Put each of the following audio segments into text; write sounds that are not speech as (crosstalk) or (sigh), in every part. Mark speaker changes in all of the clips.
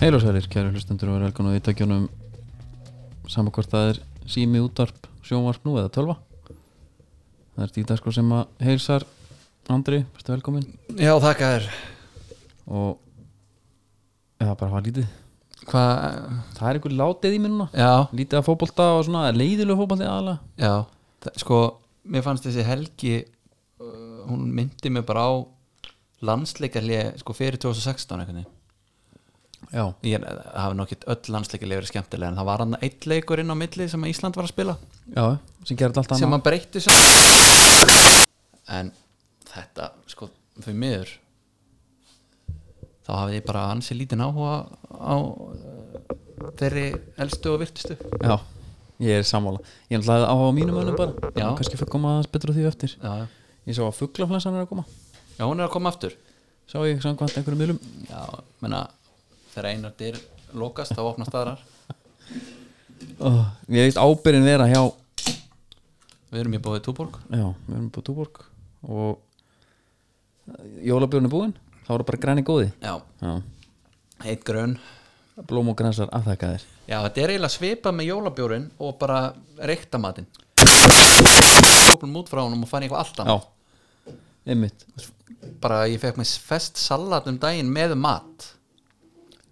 Speaker 1: Heil og sælir, kæru hlustendur og verið velkomin á ítækjunum saman hvort það er sími útarp, sjónvarp nú eða tölva Það er Díta sko sem að heilsar Andri, bestu velkomin
Speaker 2: Já, þakka þér
Speaker 1: og eða bara hafa lítið
Speaker 2: Hvað,
Speaker 1: Það er einhver látið í mér núna
Speaker 2: já,
Speaker 1: Lítið að fótbolta og svona leiðilegu fótbolti aðalega
Speaker 2: já Þa- Sko, mér fannst þessi helgi uh, hún myndi mig bara á landsleikarlega sko fyrir 2016 einhvernig
Speaker 1: Já,
Speaker 2: ég það hafi nokkið öll landsleikarlega verið skemmtilega en það var hann eitt leikur inn á milli sem að Ísland var að spila
Speaker 1: já, sem gerir þetta allt
Speaker 2: sem
Speaker 1: annað
Speaker 2: að breytti svo en þetta sko fyrir miður þá hafið ég bara ansi lítinn áhuga á uh, þeirri elstu og virtustu
Speaker 1: Já, ég er sammála Ég er náttúrulega áhuga á mínum önum bara
Speaker 2: Já.
Speaker 1: Kannski fyrir koma aðeins betur á því á eftir
Speaker 2: já, já.
Speaker 1: Ég sá að fuglaflensan er að koma
Speaker 2: já, hún er að koma aftur
Speaker 1: Sá ég samkvæmt einhverjum miðlum
Speaker 2: Já, menna þegar einar dyr lokast þá opnast aðrar
Speaker 1: oh, Ég veist ábyrðin vera hjá
Speaker 2: Við erum í bóðið Túborg
Speaker 1: Já, við erum búið túborg og jólabjörn er búinn þá eru bara græni góði
Speaker 2: Já,
Speaker 1: Já,
Speaker 2: heitt grön
Speaker 1: blóm og grænsar aðþakkaðir
Speaker 2: Já, þetta er eiginlega svipað með jólabjórin og bara reyktamatinn Koplum út frá honum og fann eitthvað allt
Speaker 1: Já,
Speaker 2: annað
Speaker 1: einmitt
Speaker 2: Bara ég fekk mér fest salat um daginn með mat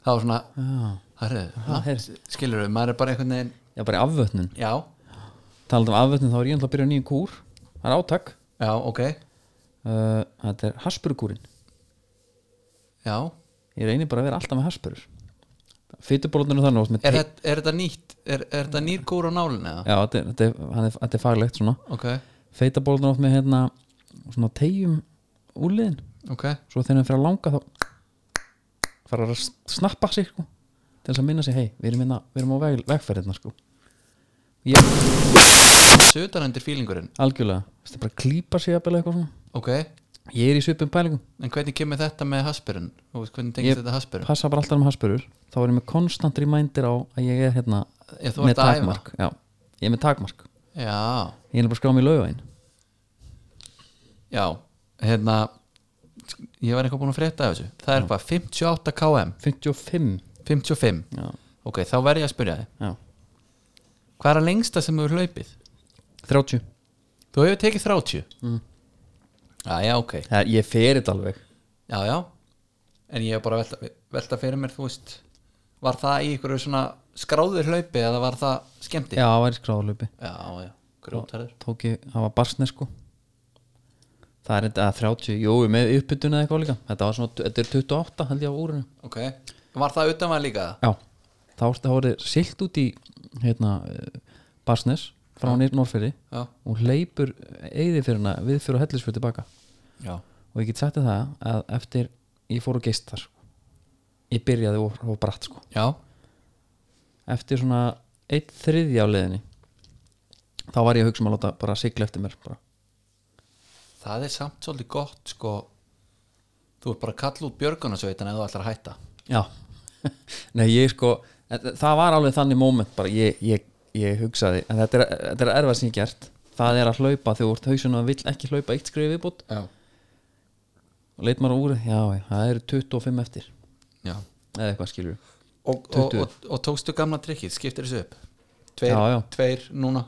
Speaker 2: Það var svona
Speaker 1: Já,
Speaker 2: Herðu,
Speaker 1: her,
Speaker 2: skilur við, maður er bara einhvern veginn
Speaker 1: já bara í afvötnun
Speaker 2: Já,
Speaker 1: Talandi um afvötnun þá er ég ennþá að byrja á nýjum kúr Það er átak
Speaker 2: já, ok
Speaker 1: uh, Þetta er haspurukúrin
Speaker 2: Já,
Speaker 1: Ég reyni bara að vera alltaf með haspurur Fytubólunir og þannig oft með
Speaker 2: er,
Speaker 1: te-
Speaker 2: þetta, er þetta nýtt er, er þetta nýr kúr á nálinni eða?
Speaker 1: Já, þetta er, þetta er, hann er, þetta er faglegt svona
Speaker 2: Ok,
Speaker 1: Feitabólunir oft með hérna svona tegjum úrliðin
Speaker 2: ok
Speaker 1: svo þegar hann fyrir að langa þá fara að s- snappa sig sko, til þess að minna sig, hei, við erum, minna, við erum á veg, vegferðina sko. ég,
Speaker 2: Sötarendir fílingurinn,
Speaker 1: algjörlega þetta er bara að klípa sig jafnvel eitthvað svona
Speaker 2: ok
Speaker 1: ég er í svipum pælingum,
Speaker 2: En hvernig kemur þetta með haspurinn? Og hvernig tengist
Speaker 1: Ég-
Speaker 2: þetta haspurinn?
Speaker 1: passa bara alltaf um haspurur þá er ég með konstant reminder á að ég er hérna
Speaker 2: Ég, þú
Speaker 1: með
Speaker 2: ert að æfa.
Speaker 1: takmark Já, ég er með takmark,
Speaker 2: Já,
Speaker 1: ég er bara að skrá mig í laugavæn
Speaker 2: já Hérna Ég var eitthvað búin að frétta af þessu Það er hvað, 58 km
Speaker 1: 55
Speaker 2: 55
Speaker 1: Já.
Speaker 2: Ok, þá verð ég að spyrja þig
Speaker 1: Já.
Speaker 2: Hvað er að lengsta sem þú hefur hlaupið?
Speaker 1: 30
Speaker 2: Þú hefur tekið 30 mm. Já, já, ok
Speaker 1: Það, ég fer þetta alveg
Speaker 2: Já, já En ég hef bara velta, velta fyrir mér, þú veist Var það í ykkur svona skráður hlaupi eða var það skemmti?
Speaker 1: Já, það var í skráðalöpi
Speaker 2: já, já grjótarður
Speaker 1: tók ég, það var barsnir sko það er þetta að 30 jú, með uppbytun eða eitthvað líka þetta var svona, þetta er 28 held ég á úrinu
Speaker 2: Ok, var það utanvæð líka?
Speaker 1: já, þá var þetta silt út í hérna, barsnir frá nýr Norferi
Speaker 2: Já,
Speaker 1: og hleypur eigði fyrir hana við fyrir hellisfjörð tilbaka
Speaker 2: já
Speaker 1: og ég get sagt þér það að eftir ég fór og geist þar sko. ég byrjaði og, og bratt sko
Speaker 2: Já,
Speaker 1: eftir svona eitt þriðja á leiðinni þá var ég að hugsa um að láta bara sigla eftir mér bara.
Speaker 2: það er samt svolítið gott sko þú er bara að kalla út björgunarsveitin eða þú ætlar að hætta
Speaker 1: Já, (laughs) nei ég sko þa- það var alveg þannig moment bara ég, ég, ég hugsaði en þetta er, þetta er erfað sem ég gert það er að hlaupa þegar þú ert hausinu að vill ekki hlaupa eitt skrif viðbútt
Speaker 2: Já,
Speaker 1: og leit maður úr, já, já, það eru 25 eftir
Speaker 2: já.
Speaker 1: eða eitthvað skilur
Speaker 2: Og, og,
Speaker 1: 20.
Speaker 2: og, og tókstu gamla trikkið, skiptir þessu upp tveir,
Speaker 1: Já, já.
Speaker 2: tveir núna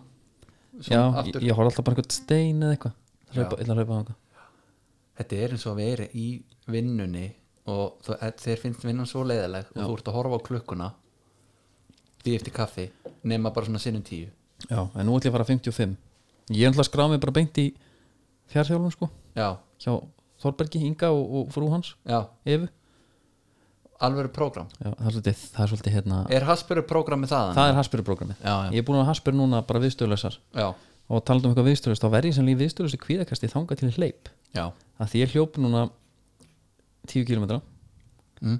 Speaker 2: Svona
Speaker 1: Já, ég,
Speaker 2: aftur.
Speaker 1: ég horf alltaf bara einhvern stein eða eitthvað Það
Speaker 2: Já.
Speaker 1: hlaupa, illa hlaupa þangað
Speaker 2: þetta er eins og að vera í vinnunni og þú, e- þeir finnst vinnan svo leiðileg og þú ert að horfa á klukkuna því eftir kaffi nema bara svona sinnum tíu
Speaker 1: Já, en nú ætlum ég að fara 55 Ég ætla að skrá mig bara beint í fjárþjálfum sko
Speaker 2: Já,
Speaker 1: hjá Þorbergi, Inga og, og frú hans
Speaker 2: já,
Speaker 1: Efu
Speaker 2: alveg prógram
Speaker 1: já, það, er svolítið, það er svolítið hérna
Speaker 2: Er Hasperu prógram með það?
Speaker 1: Það er haspyruprógrammið
Speaker 2: Já, já.
Speaker 1: Ég er búin að hafa haspyr núna bara viðstöðlösar
Speaker 2: Já,
Speaker 1: og talað um eitthvað viðstöðlöst þá verði ég sem líf viðstöðlöst í kvíðakasti þanga til hleyp
Speaker 2: já
Speaker 1: að því ég hljóp núna 10 km
Speaker 2: mm.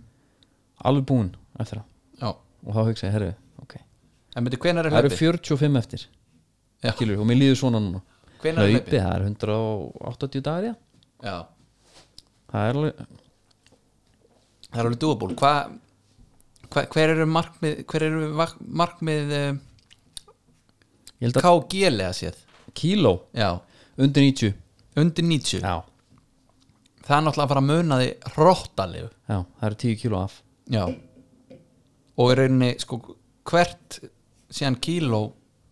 Speaker 1: alveg búinn eftir það
Speaker 2: Já,
Speaker 1: og þá hugsa ég, herru, ok
Speaker 2: en myndi hvenær er
Speaker 1: það eru
Speaker 2: hlaupið?
Speaker 1: 45 eftir
Speaker 2: Já.
Speaker 1: Kilur, og mér líður svona núna
Speaker 2: Hvenær er hlaupið?
Speaker 1: það er 180 dagar já.
Speaker 2: Já
Speaker 1: það er alveg
Speaker 2: það er alveg dúaból hva, hva, hver eru markmið hver eru vak- markmið uh,
Speaker 1: ég held að
Speaker 2: KG lega séð
Speaker 1: kíló
Speaker 2: já,
Speaker 1: undir 90
Speaker 2: undir 90
Speaker 1: já.
Speaker 2: það er náttúrulega að fara að muna því hróttalegu
Speaker 1: já, það eru 10 kíló af
Speaker 2: já, og er rauninni sko hvert síðan kíló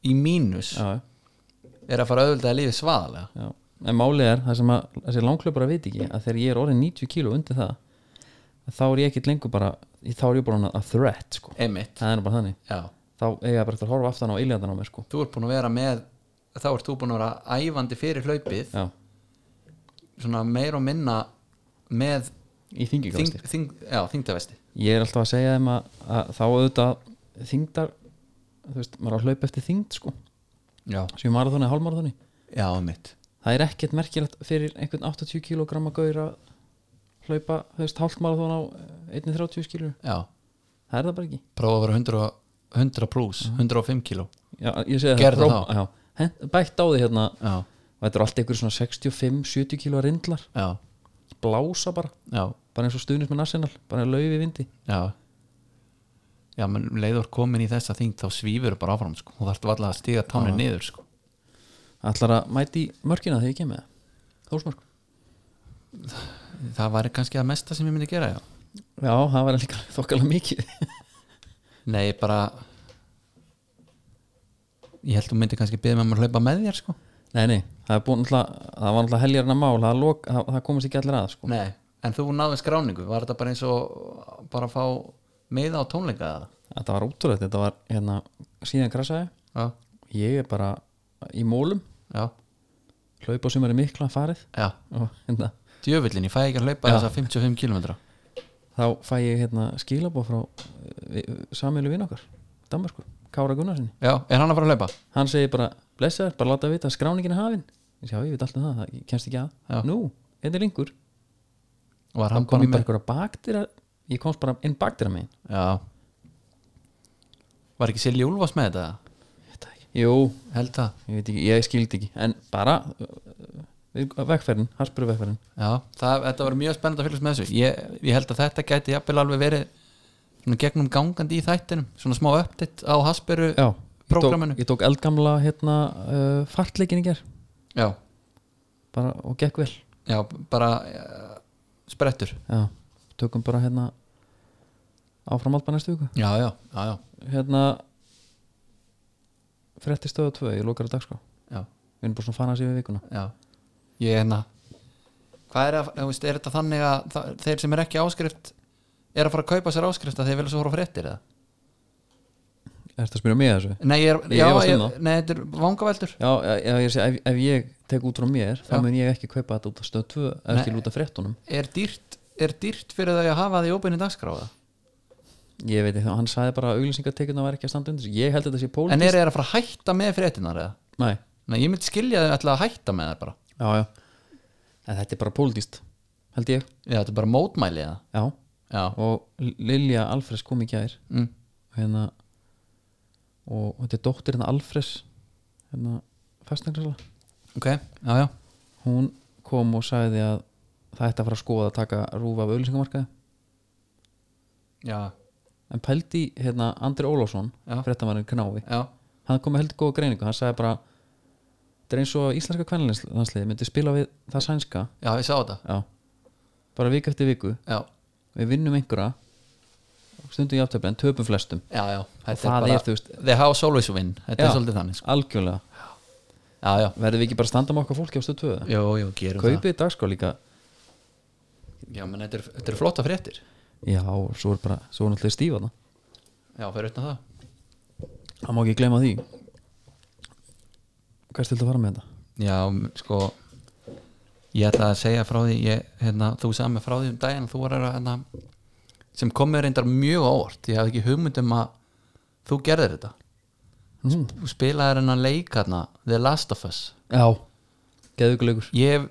Speaker 2: í mínus
Speaker 1: já, já.
Speaker 2: er að fara auðvitað lífið svaðalega
Speaker 1: Já, en málið er það sem að þessi langklöpar að veit ekki að þegar ég er orðin 90 kíló undir það að þá er ég ekkit lengur bara þá er ég bara hann að threat sko.
Speaker 2: einmitt,
Speaker 1: það er nú bara þannig
Speaker 2: já
Speaker 1: þá eiga bara eftir að horfa aftan á eiljandan á mér sko.
Speaker 2: þú ert búin að vera með þá ert þú búin að vera æfandi fyrir hlaupið
Speaker 1: já,
Speaker 2: svona meir og minna með
Speaker 1: í þingingastir
Speaker 2: þing, þing, já, þingdavesti
Speaker 1: ég er alltaf að segja þeim að, að þá auðvitað þingdar þú veist, maður er að hlaupa eftir þingd sko
Speaker 2: já,
Speaker 1: sem marathoni eða hálmarathoni
Speaker 2: já, einmitt
Speaker 1: það er ekkert merkilegt fyrir einhvern 80 kg gaur að hlaupa þú veist, hálfmarathon á eh, 1.30 kg
Speaker 2: já,
Speaker 1: það er það bara ekki
Speaker 2: prófa að vera 100, og- 100 plus 105 kíló
Speaker 1: já, ég segi
Speaker 2: Gerðu
Speaker 1: það, próf- já, hent, bætt á því hérna
Speaker 2: já,
Speaker 1: og þetta eru allt einhverjum svona 65-70 kg rindlar
Speaker 2: já,
Speaker 1: blása bara,
Speaker 2: já,
Speaker 1: bara eins og stuðnist með Arsenal bara laufi í vindi
Speaker 2: já já, menn um leiður komin í þessa þing þá svífur bara áfram sko og þarf varlega að stíga tánu niður sko
Speaker 1: ætlar að mæti mörkina þegar ég kem með það þósmörk
Speaker 2: það væri kannski að mesta sem ég myndi gera já
Speaker 1: já, það var líka (laughs) þokkala mikið
Speaker 2: nei, bara ég held þú myndi kannski byrja með að hlaupa með þér sko
Speaker 1: nei, nei, það, er búin, alltaf, það var alltaf heljarna mál það, lok, það, það komast ekki allir að sko.
Speaker 2: Nei, en þú náði skráningu var þetta bara eins og bara að fá meða á tónleika eða?
Speaker 1: þetta var ótrúlega, þetta var hérna, síðan krasaði
Speaker 2: Já,
Speaker 1: ég er bara í mólum
Speaker 2: já,
Speaker 1: hlaupa sem er mikla farið
Speaker 2: já
Speaker 1: og hérna,
Speaker 2: Djöfullin, ég fæ ekki að hlaupa þessa 55 km
Speaker 1: þá fæ ég hérna, skilabó frá uh, samilu vinn okkar, Danmarku Kára Gunnarsinni,
Speaker 2: Já, er hann að fara að hlaupa?
Speaker 1: hann segir bara blessaður, bara láta vita að skráningin er hafin ég segi, já, ég veit alltaf það, það ég kemst ekki að
Speaker 2: Já.
Speaker 1: nú, hérna er linkur,
Speaker 2: Var
Speaker 1: þá
Speaker 2: hann
Speaker 1: kom
Speaker 2: bara
Speaker 1: ég bara
Speaker 2: með
Speaker 1: einhverja bakdýra ég komst bara inn bakdýra megin
Speaker 2: Já Var ekki Silji Úlfars með þetta?
Speaker 1: jú,
Speaker 2: Held það
Speaker 1: ég veit ekki, ég skildi ekki en bara eh, vegferðin, harsbyrðu vegferðin
Speaker 2: Já, það, þetta var mjög spennandi að fylgjast með þessu Ég, ég held að þetta gæti jafnvel alveg verið svona gegnum gangandi í þættinum svona smá upptitt á Hasperu
Speaker 1: já, ég tók,
Speaker 2: Prógraminu.
Speaker 1: ég tók eldgamla hérna, uh, fartleikin í ger
Speaker 2: já,
Speaker 1: bara, og gekk vel
Speaker 2: já, bara uh, sprettur
Speaker 1: já, tökum bara hérna áframald bara næstu viku
Speaker 2: Já, já, já, já,
Speaker 1: hérna frettistöðu 2, ég lokar að dagskrá
Speaker 2: já.
Speaker 1: við erum bara svona fanað sér við vikuna
Speaker 2: Já, ég er hérna Hvað er að, þú veist, er þetta þannig að það, þeir sem er ekki áskrift er að fara að kaupa sér áskrift að þeir vilja svo horfa á fréttir eða?
Speaker 1: Er þetta að spyrja um mig að þessu?
Speaker 2: Nei, ég er,
Speaker 1: Ég
Speaker 2: já,
Speaker 1: efast um
Speaker 2: ég,
Speaker 1: það.
Speaker 2: nei, þetta er vangaveldur
Speaker 1: Já, já ég sé, ef, ef ég tek út frá mér þá
Speaker 2: Já.
Speaker 1: mun ég ekki kaupa þetta út af stöð 2 eða skil út af frettunum
Speaker 2: Er dýrt, er dýrt fyrir þau að hafa því óbyrni dagskráða?
Speaker 1: ég veit ekki, hann sagði bara að auglýsingatekjurnar var ekki að standa undir þessu. ég held að þetta sé pólitísk
Speaker 2: En er þeir að fara að hætta með fréttinar eða?
Speaker 1: Nei,
Speaker 2: Nei, ég myndi skilja þau alltaf að hætta með það bara
Speaker 1: já, já en þetta er bara pólitíst, held ég
Speaker 2: Já, þetta er bara mótmæli eða?
Speaker 1: já,
Speaker 2: Já,
Speaker 1: og Lilja Alfres kom í gær
Speaker 2: mm.
Speaker 1: hérna og þetta er dóttir hérna Alfres hérna fastnægnarsala
Speaker 2: ok, já, já
Speaker 1: hún kom og sagði að það ætti að fara að skoða að taka rúfa af auðlýsingamarkaði
Speaker 2: Já,
Speaker 1: en pældi í, hérna Andri Ólásson
Speaker 2: Já.
Speaker 1: fréttamannin Knáfi,
Speaker 2: já,
Speaker 1: hann kom með heldur góða greiningu hann sagði bara þetta er eins og að íslenska kvenlandsliði myndi spila við það sænska
Speaker 2: já, ég sá þetta
Speaker 1: Já. bara vik eftir viku,
Speaker 2: Já,
Speaker 1: við vinnum einhverja stundum játtöfli en töpum flestum
Speaker 2: já, já
Speaker 1: og það er, þú veist,
Speaker 2: They house always win, þetta
Speaker 1: Já.
Speaker 2: er svolítið þannig sko.
Speaker 1: algjörlega
Speaker 2: Já, já,
Speaker 1: verðum við ekki bara að standa með okkar fólki á stöð 2
Speaker 2: já, já, gerum það
Speaker 1: kaupið dagskrá líka
Speaker 2: Já, menn þetta eru er flotta fréttir
Speaker 1: já, svo er bara, svo er náttúrulega stífa það
Speaker 2: Já, fyrir utan það
Speaker 1: það má ekki gleyma því hvað stiltu að fara með þetta?
Speaker 2: Já, m- sko Ég ætla að segja frá því ég, hérna, Þú sagði mig frá því um daginn Þú var að hérna, sem kom mér reyndar mjög á óvart Ég hafði ekki hugmynd um að þú gerðir þetta
Speaker 1: Mm.
Speaker 2: Þú spilaðir hennan leik hérna, The Last of Us
Speaker 1: já, geðugulegur
Speaker 2: Ég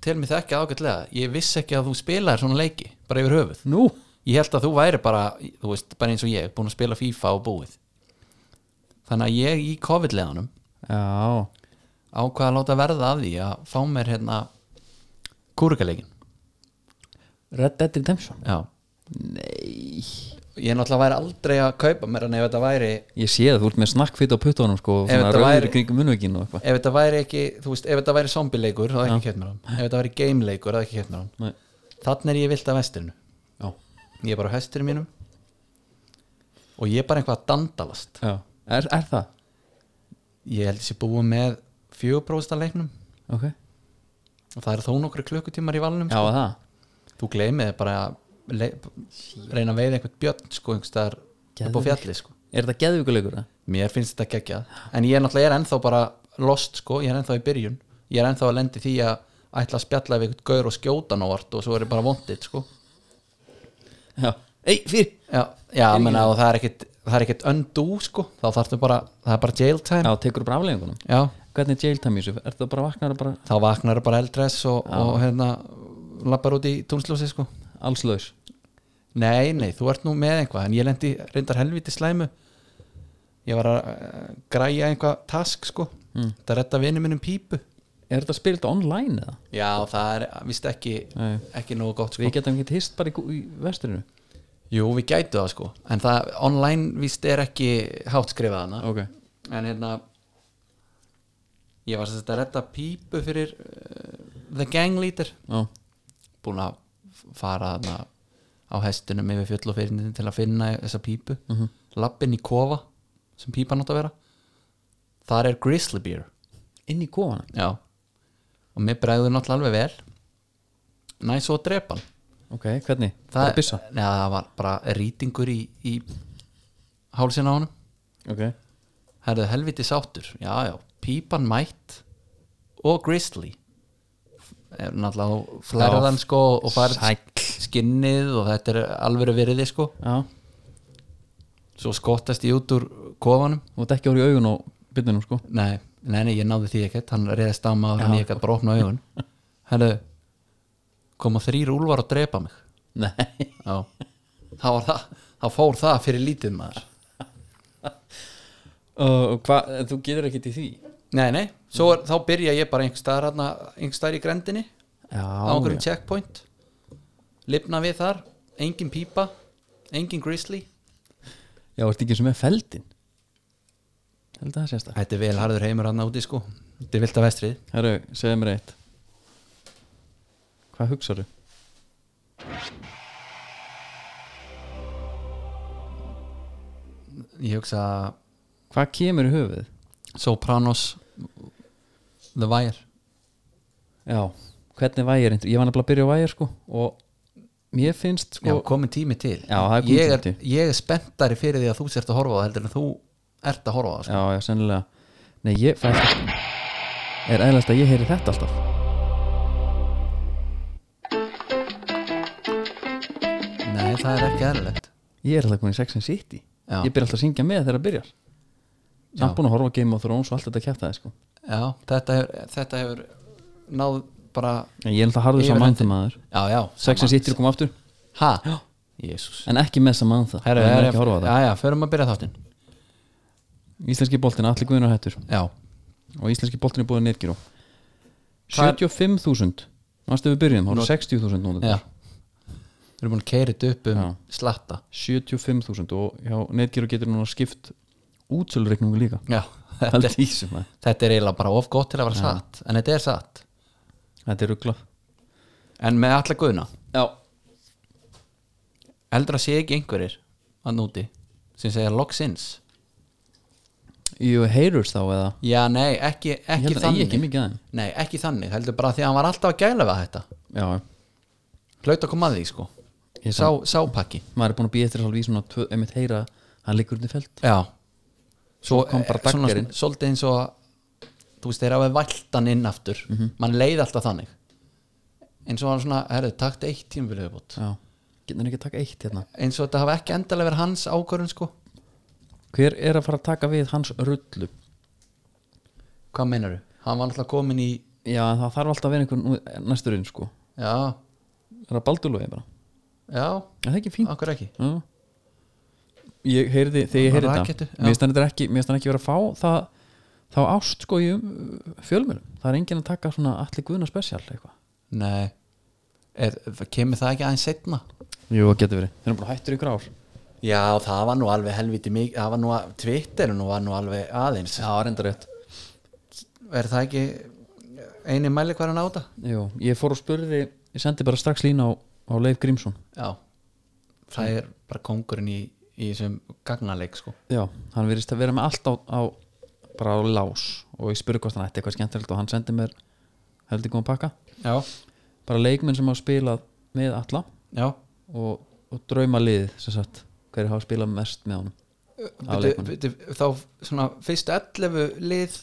Speaker 2: tel mér það ekki ágætlega Ég vissi ekki að þú spilaðir svona leiki bara yfir höfuð
Speaker 1: nú,
Speaker 2: ég held að þú væri bara þú veist, bara eins og ég, búin að spila FIFA og búið þannig að ég í COVID-leðanum
Speaker 1: já,
Speaker 2: ákvað að láta verða af því að fá mér hérna kúrukaleikin
Speaker 1: Red Dead Redemption
Speaker 2: já,
Speaker 1: nei,
Speaker 2: ég náttúrulega væri aldrei að kaupa mér en ef þetta væri
Speaker 1: ég sé það, þú ert með snakkfitt á puttunum sko, og
Speaker 2: Ef
Speaker 1: svona
Speaker 2: þetta
Speaker 1: rauður
Speaker 2: væri-
Speaker 1: væri... kringum munvegin og eitthvað
Speaker 2: ef þetta væri ekki, þú veist, ef þetta væri zombie-leikur þá ekki kjöpt mér hann, ef þetta væri game-leikur þá ekki kjöpt mér hann,
Speaker 1: Nei.
Speaker 2: þannig er ég vilt af vestirinu
Speaker 1: já,
Speaker 2: ég er bara á hesturinn mínum og ég er bara eitthvað að dandalast
Speaker 1: Já, er, er það?
Speaker 2: ég held þessi búið með fjöguprófist að leiknum
Speaker 1: Ok
Speaker 2: og það eru þó nokkru klukkutímar í valnum
Speaker 1: Já, var það?
Speaker 2: þú gleymið þér bara að le- reyna að veiða einhvern björn sko einhverstaðar upp á
Speaker 1: Geðveikt.
Speaker 2: fjalli sko
Speaker 1: Er þetta geðvíkuleikur það?
Speaker 2: mér finnst þetta geggjað en ég er náttúrulega ég er ennþá bara lost sko ég er ennþá í byrjun ég er ennþá að lendi því að ætla að spjalla við einhvern gaur og skjóta návart og svo er ég bara vondið sko
Speaker 1: Já Ei, fyrir
Speaker 2: já, já menna, og það er ekkit það er ekkit undo sko þá þarfstu bara það er bara jail time
Speaker 1: Já, tekur bara afleggingunum
Speaker 2: já,
Speaker 1: Hvernig er jail time í þessu? Er það bara vaknar og bara
Speaker 2: þá vaknar bara eldress og, og hérna lappar út í túnsljósi sko
Speaker 1: alls laus?
Speaker 2: Nei, nei, þú ert nú með einhvað en ég lendi reyndar helviti slæmu ég var að uh, græja einhvað task sko mm. þetta retta vinur minnum pípu
Speaker 1: Er þetta spilt online eða?
Speaker 2: Já, það er vist ekki
Speaker 1: Nei.
Speaker 2: ekki nógu gott sko
Speaker 1: Við getum ekki hist bara í, gú- í vestrinu
Speaker 2: Jú, við gætu það sko en það online vist er ekki hátt skrifað hana
Speaker 1: Ok
Speaker 2: en hérna ég var sem sagt að retta pípu fyrir uh, The Gang Leader
Speaker 1: Já,
Speaker 2: búin að fara þarna á hestunum yfir fjöll og fyrirnitin til að finna þessa pípu mm lappin í kofa sem pípan átt að vera þar er grizzly beer
Speaker 1: inn í kofana
Speaker 2: já og mér bregður náttúrulega alveg vel næ svo að drepa hann
Speaker 1: Ok, hvernig? Það er byssa
Speaker 2: neða, það var bara rýtingur í, í hálsina á honum
Speaker 1: Ok
Speaker 2: herðu helviti sáttur já, já, pípan mætt og grizzly er náttúrulega
Speaker 1: Já,
Speaker 2: flærðan sko og
Speaker 1: sæll.
Speaker 2: farið skinnið og þetta er alveg veriði sko
Speaker 1: Já
Speaker 2: svo skottast ég út úr kofanum
Speaker 1: Þú ert ekki orðið í augun á byrnunum sko
Speaker 2: nei, nei, nei, ég náði því ekkert hann reyðist á maður hann ég ekkert bara opna augun herðu koma þrýr úlfar og drepa mig
Speaker 1: Nei
Speaker 2: já, þá var það þá fór það fyrir lítið maður
Speaker 1: (laughs) Og hvað, þú getur ekki til því
Speaker 2: nei, nei, svo er, þá byrja ég bara einhvers staðar þarna- einhvers staðar í grendinni
Speaker 1: Já,
Speaker 2: á einhverjum
Speaker 1: já.
Speaker 2: checkpoint lifna við þar, engin pípa engin grizzly
Speaker 1: já ertu ekki sem er feldin Held að það sést það
Speaker 2: þetta er vel harður heimur hann úti sko þetta er vilt að vestrið
Speaker 1: Herru, segðu mér eitt Hvað hugsaðu?
Speaker 2: ég hugsa
Speaker 1: Hvað kemur í höfuð?
Speaker 2: Sopranos The Wire
Speaker 1: Já, hvernig vægir Ég var nefnilega að byrja á vægir sko og mér finnst
Speaker 2: já,
Speaker 1: sko
Speaker 2: komin tími til
Speaker 1: Já, það er kominn
Speaker 2: ég, er,
Speaker 1: tími til.
Speaker 2: ég er spenntari fyrir því að þú sért að horfa á það heldur en þú ert að horfa á það sko.
Speaker 1: Já, já, sennilega Nei, ég fæ Er eðlæst að ég heyri þetta alltaf
Speaker 2: nei, það er ekki eðlilegt
Speaker 1: Ég er alltaf komin í Sex and City
Speaker 2: Já.
Speaker 1: Ég byrja alltaf að syngja með þegar það byrjar Samt búin að horfa á Game of Thrones og allt þetta kjæftaði sko
Speaker 2: já, þetta hefur, þetta hefur náð bara
Speaker 1: En ég er alltaf harður
Speaker 2: Yfirleitt.
Speaker 1: Samantha maður
Speaker 2: já, já,
Speaker 1: Sex and City kom aftur
Speaker 2: ha, jésús
Speaker 1: En ekki með Samantha
Speaker 2: Herra,
Speaker 1: Það er
Speaker 2: herra,
Speaker 1: ekki að horfa á
Speaker 2: já, já, förum að byrja þáttinn
Speaker 1: það Íslenski boltinn, allir guðunar hættur
Speaker 2: já,
Speaker 1: og íslenski boltin er búið nýrgir á
Speaker 2: Hvað er-
Speaker 1: 75.000 mannstu við byrjum, þá eru
Speaker 2: Nú-
Speaker 1: 60.000
Speaker 2: já
Speaker 1: núna
Speaker 2: við erum búin að keira þetta upp um
Speaker 1: Já.
Speaker 2: slatta
Speaker 1: 75.000 og já, netgir getur núna skipt útsölureikningu líka
Speaker 2: já, (laughs) þetta
Speaker 1: Pældi
Speaker 2: er,
Speaker 1: í þessu, maður.
Speaker 2: þetta er eiginlega bara of gott til að vera satt en þetta er satt,
Speaker 1: þetta er ruggla
Speaker 2: en með alla guðna
Speaker 1: já,
Speaker 2: heldur að sé ekki einhverjir að núti sem segja loksins
Speaker 1: jú, heyrurs þá eða
Speaker 2: já, nei, ekki,
Speaker 1: ég
Speaker 2: ekki
Speaker 1: held að ég
Speaker 2: þannig
Speaker 1: ekki mikið aðeim
Speaker 2: nei, ekki þannig, heldur bara því að hann var alltaf að gæla við þetta
Speaker 1: já,
Speaker 2: hlaut að koma að því, sko
Speaker 1: Ég
Speaker 2: sá, sápakki,
Speaker 1: maður er búin að býja eftir alveg í svona tvö, einmitt heyra hann liggur undir felt
Speaker 2: já
Speaker 1: Svo kom bara
Speaker 2: eh, svona
Speaker 1: daggerinn.
Speaker 2: svolítið eins og að, þú veist, þeir hafið valtan inn aftur mann leið alltaf þannig eins og hann svona, herru, takt eitt tímabilið viðbót
Speaker 1: já, getur hann ekki að taka eitt hérna
Speaker 2: eins og þetta hafa ekki endalega verið hans ákvörun sko.
Speaker 1: hver er að fara að taka við hans rullu
Speaker 2: hvað meinaru? hann var alltaf komin í
Speaker 1: já, en það þarf alltaf að vera einhver næsturinn sko,
Speaker 2: já,
Speaker 1: það er að baldurlóði bara
Speaker 2: já,
Speaker 1: Er það er ekki fínt
Speaker 2: okkur ekki
Speaker 1: Já. ég heyrði þegar ég heyrði þetta
Speaker 2: Rakettu, já.
Speaker 1: mér finnst hann þetta ekki, mér finnst hann ekki vera að fá það, þá ást sko í fjölmjölum það er enginn að taka svona allir guðna spesial eitthvað
Speaker 2: nei, er, kemur það ekki aðeins setna?
Speaker 1: jú, það getur verið, þeir eru bara hættur ykkur ár
Speaker 2: já, það var nú alveg helviti mikið það var nú að, Twitter nú var nú alveg aðeins
Speaker 1: já, reyndar rétt
Speaker 2: er það ekki eini mæli hverjan á þetta?
Speaker 1: jú, ég fór og spurði, ég sendi bara strax lína á, á Leif Grímsson
Speaker 2: já, það er bara kongurinn í, í þessum gagnaleik sko
Speaker 1: Já, hann virðist að vera með allt á, á bara á lás og ég spurði hvort hann ætti eitthvað skemmtilegt og hann sendi mér heldur góðan pakka
Speaker 2: já,
Speaker 1: bara leikmenn sem hafa spilað með alla
Speaker 2: já
Speaker 1: og, og drauma liðið sem sagt hverju hafa spilað mest með honum Á
Speaker 2: Bitu,
Speaker 1: leikmönnum.
Speaker 2: bitu, þá svona fyrstu 11 lið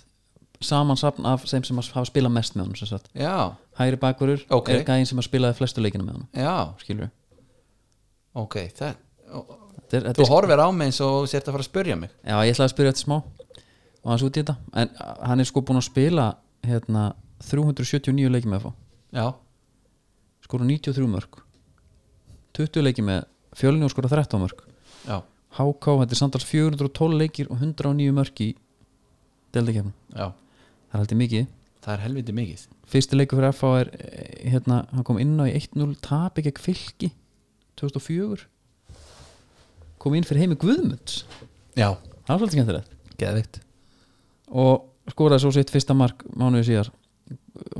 Speaker 1: samansapn af þeim sem hafa spilað mest með honum sem sagt
Speaker 2: já,
Speaker 1: hægri bakurur
Speaker 2: Ok.
Speaker 1: er gæðin sem hafa spilaði flestu leikina með honum
Speaker 2: já,
Speaker 1: skilur
Speaker 2: ok það,
Speaker 1: þetta er, þetta
Speaker 2: þú
Speaker 1: er,
Speaker 2: horfir á mig eins og þú sért að fara að spyrja mig
Speaker 1: já, ég ætlaði að spyrja þetta smá og hans út í þetta en a- hann er sko búin að spila hérna 379 leiki með að fá
Speaker 2: já,
Speaker 1: skora 93 mörg 20 leiki með fjölinu og skora 13 mörg
Speaker 2: já,
Speaker 1: HK, þetta er samtals 412 leikir og 109 mörg í deildakefnum,
Speaker 2: já
Speaker 1: það er haldið mikið
Speaker 2: það er helviti mikið
Speaker 1: fyrsti leikur fyrir FH er eh, hérna, hann kom inn á í 1-0 tapi gegn fylki 2004 kom inn fyrir heimi Guðmunds
Speaker 2: já,
Speaker 1: það var svolítið skemmtilegt
Speaker 2: geðvikt
Speaker 1: og skoraði svo sitt fyrsta mark mánuði síðar á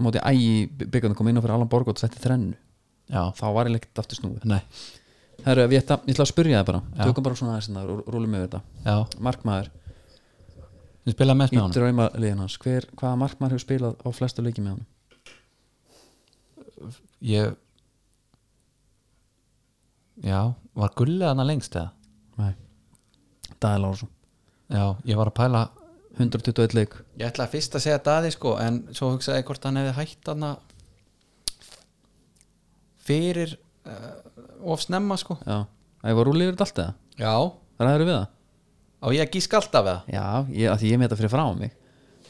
Speaker 1: móti ægi byggandum kom inn á fyrir Alan Borg og setti þrennu
Speaker 2: já,
Speaker 1: þá var ég leikt aftur snúið
Speaker 2: nei,
Speaker 1: Herru, við ætla, ég ætla að spyrja það bara
Speaker 2: Já.
Speaker 1: tökum bara svona aðeins hérna, og rúlum með þetta
Speaker 2: já,
Speaker 1: markmaður
Speaker 2: þú spilaði mest
Speaker 1: í
Speaker 2: með honum
Speaker 1: draumaliðin hans Hver, hvaða markmaður hefur spilað á flestu leiki með hann
Speaker 2: ég já, var gullið hana lengst eða
Speaker 1: Nei. Dæði Lárusson
Speaker 2: já, ég var að pæla
Speaker 1: 121 leik
Speaker 2: ég ætlaði fyrst að segja Daði sko en svo hugsaði ég hvort hann hefði hætt hana fyrir uh, of snemma sko
Speaker 1: Já, það var rúlið yfir þetta allt eða
Speaker 2: já, á
Speaker 1: Ræður við það?
Speaker 2: ég að gíska alltaf við
Speaker 1: Já, ég, af því ég með þetta fyrir frá mig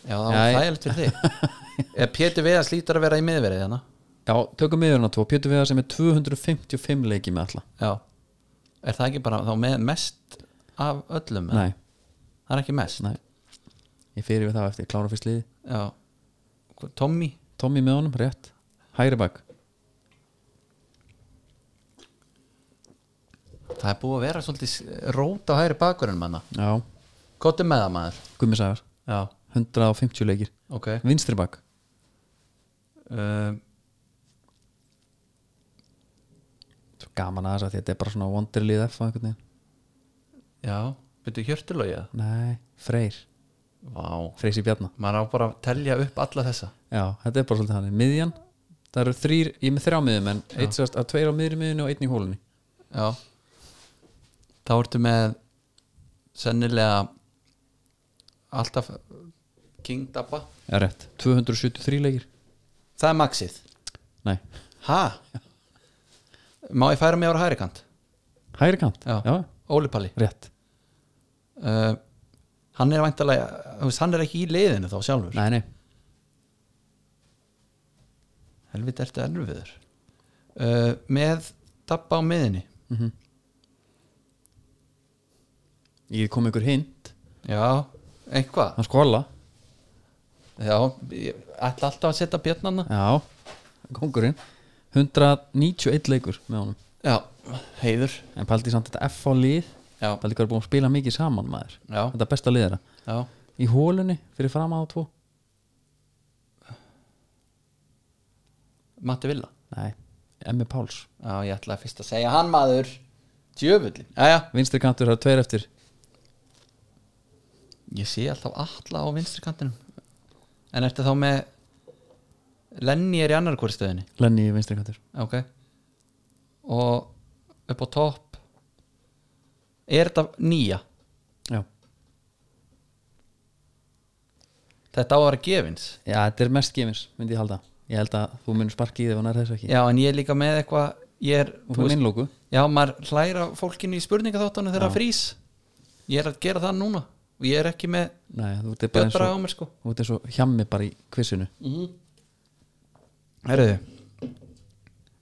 Speaker 2: það já,
Speaker 1: Já,
Speaker 2: það var
Speaker 1: ég-
Speaker 2: þægilegt fyrir (laughs) þig eða Pétur Viðars lítur að vera í miðverið hérna? hana
Speaker 1: Já, tökum miðurinn á tvo Pétur Viðar sem er 255 leiki með alla
Speaker 2: já, er það ekki bara þá með mest af öllum eða?
Speaker 1: Nei,
Speaker 2: það er ekki mest
Speaker 1: nei Ég fyrir við það eftir, klára fyrst liði
Speaker 2: já, Hva- Tommy
Speaker 1: Tommy með honum, rétt Hægri bak
Speaker 2: það er búið að vera svolítið rót á hægri bakurinn manna
Speaker 1: Já,
Speaker 2: Kottu með það maður
Speaker 1: Gummi Sævar
Speaker 2: Já,
Speaker 1: 150 leikir
Speaker 2: ok
Speaker 1: Vinstri bak
Speaker 2: uh,
Speaker 1: Svo gaman að þess að þetta er bara svona wonderlið F og einhvern veginn
Speaker 2: Já, byrju hjörtulógið
Speaker 1: Nei, Freyr,
Speaker 2: Vá,
Speaker 1: Freysi Bjarna
Speaker 2: maður á bara að telja upp alla þessa
Speaker 1: Já, þetta er bara svolítið hann Miðjan, það eru þrýr, ég er með þrjá miðum en eitt sérst að tveir á miðri miðinu og einn í hólunni
Speaker 2: Já Þá ertu með sennilega alltaf King Dabba
Speaker 1: Já, rétt, 273 leikir
Speaker 2: Það er maxið
Speaker 1: Nei,
Speaker 2: Ha? Má ég færa mig ára hægri kant?
Speaker 1: hægri kant
Speaker 2: Já. Óli Palli
Speaker 1: rétt
Speaker 2: uh, Hann er væntalega, þú veist, hann er ekki í leiðinu þá sjálfur
Speaker 1: Nei, nei,
Speaker 2: Helviti ertu erfiður uh, Með Dabba á miðinni
Speaker 1: Mhm. ég kom ykkur hint
Speaker 2: Já, eitthvað
Speaker 1: Hann skóla
Speaker 2: Já, ég ætla alltaf að setja björnana
Speaker 1: Já, kongurinn 191 leikur með honum
Speaker 2: Já, heiður
Speaker 1: En paldi samt þetta F á lið
Speaker 2: Já,
Speaker 1: Paldi hvað er búin að spila mikið saman maður
Speaker 2: já,
Speaker 1: Þetta er besta liðara
Speaker 2: já
Speaker 1: Í hólunni fyrir fram á tvo
Speaker 2: Matti Villa
Speaker 1: Nei, Emmi Páls
Speaker 2: Já, ég ætlaði fyrst að segja hann maður Djöfullin Já, já
Speaker 1: Vinstri kantur, það eru tveir eftir
Speaker 2: Ég sé alltaf alla á vinstri kantinum En ertu þá með Lenny er í annar hvori stöðinni
Speaker 1: Lenny í vinstri kantur
Speaker 2: Ok Og upp á topp Er þetta nýja?
Speaker 1: Já,
Speaker 2: Þetta á að vera gefins
Speaker 1: Já þetta er mest gefins, myndi ég halda Ég held að þú munir sparki í þig og nær þessu ekki
Speaker 2: Já, en ég er líka með eitthvað Ég er,
Speaker 1: Og fyrir minnlóku
Speaker 2: Já, maður hlæra fólkinu í spurningaþáttunum þegar það frýs Ég er að gera það núna og ég er ekki með
Speaker 1: Nei, þú ert bara
Speaker 2: Björn
Speaker 1: eins
Speaker 2: Braga á Mm.
Speaker 1: og,
Speaker 2: mér sko
Speaker 1: þú ert eins og hjammi bara í kvissinu
Speaker 2: Herðu,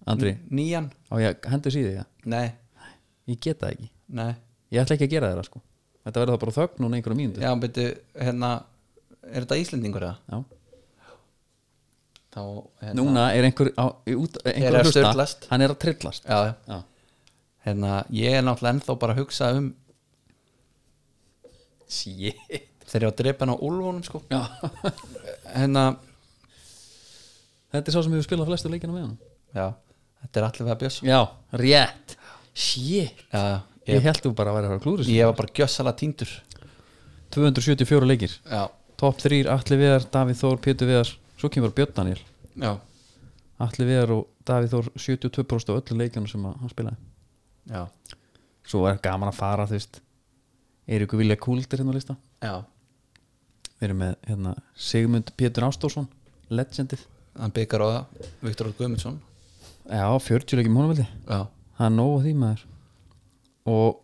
Speaker 1: Andri,
Speaker 2: nýjan?
Speaker 1: á ég hendur síði það
Speaker 2: Nei,
Speaker 1: Ég get það ekki,
Speaker 2: nei
Speaker 1: ég ætla ekki að gera þeirra sko Þetta verður þá bara þögn núna einhverja mínútu
Speaker 2: Já, byrju, hérna Er þetta Íslendingur eða?
Speaker 1: Já.
Speaker 2: Þá, hérna
Speaker 1: Núna er einhver, á, í út, einhver
Speaker 2: Er að
Speaker 1: að hlusta.
Speaker 2: sturlast.
Speaker 1: Hann er að trillast
Speaker 2: Já, já
Speaker 1: Já.
Speaker 2: Hérna, ég er náttúrulega ennþá bara að hugsa um
Speaker 1: Shit
Speaker 2: Þegar ég á drepan á Úlfónum sko
Speaker 1: Já.
Speaker 2: Hérna,
Speaker 1: (laughs) Þetta er sá sem hefur spilað flestu leikina með hann
Speaker 2: já Þetta er allir vega bjöss
Speaker 1: Já, rétt Shit
Speaker 2: Já,
Speaker 1: Ég held þú bara að vera að fara að klúður
Speaker 2: ég var bara gjössalega týndur
Speaker 1: 274 leikir
Speaker 2: já,
Speaker 1: Top 3, Atli Viðar, Davíð Þór, Pétur Viðar Svo kemur Björn Daniel
Speaker 2: já,
Speaker 1: Atli Viðar og Davíð Þór 72% á öllu leikjunum sem að- hann spilaði
Speaker 2: já,
Speaker 1: Svo er gaman að fara, þú veist Eiríku Vilja Kúldir hérna á lista
Speaker 2: já
Speaker 1: Við erum með hérna, Sigmund Pétur Ástórsson Legendið
Speaker 2: hann byggar á það, Viktor Ótt Guðmundsson
Speaker 1: Já, 40 leikjum honum veldi
Speaker 2: já,
Speaker 1: það er nóg að því maður og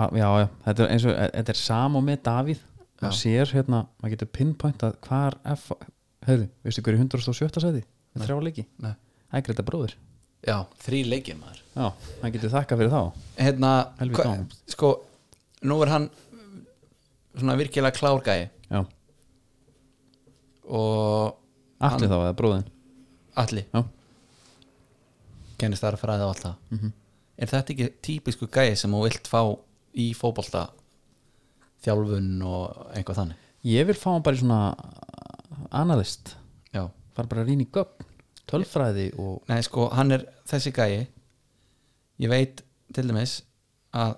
Speaker 1: að, já, já, þetta er eins og e, þetta er sam og með Davíð maður sér hérna, maður getur pinpointað hvar F, heyrðu, veistu hverju 107. sæti með þrjá leiki,
Speaker 2: nei,
Speaker 1: ægrita bróðir
Speaker 2: já, þrý leikir maður
Speaker 1: já, maður getur þakka fyrir þá
Speaker 2: hérna,
Speaker 1: Helvíti
Speaker 2: hva-
Speaker 1: á honum.
Speaker 2: sko nú er hann svona virkilega klárgæi
Speaker 1: já,
Speaker 2: og
Speaker 1: allir þá eða bróðin
Speaker 2: allir
Speaker 1: já,
Speaker 2: kennist þar að fræða á allt það er þetta ekki típisku gæi sem þú vilt fá í fótbolta þjálfun og einhvað þannig
Speaker 1: ég vil fá hann bara í svona analyst,
Speaker 2: já,
Speaker 1: fara bara að rýna í gögn tölfræði og
Speaker 2: nei sko hann er þessi gæi ég veit til dæmis að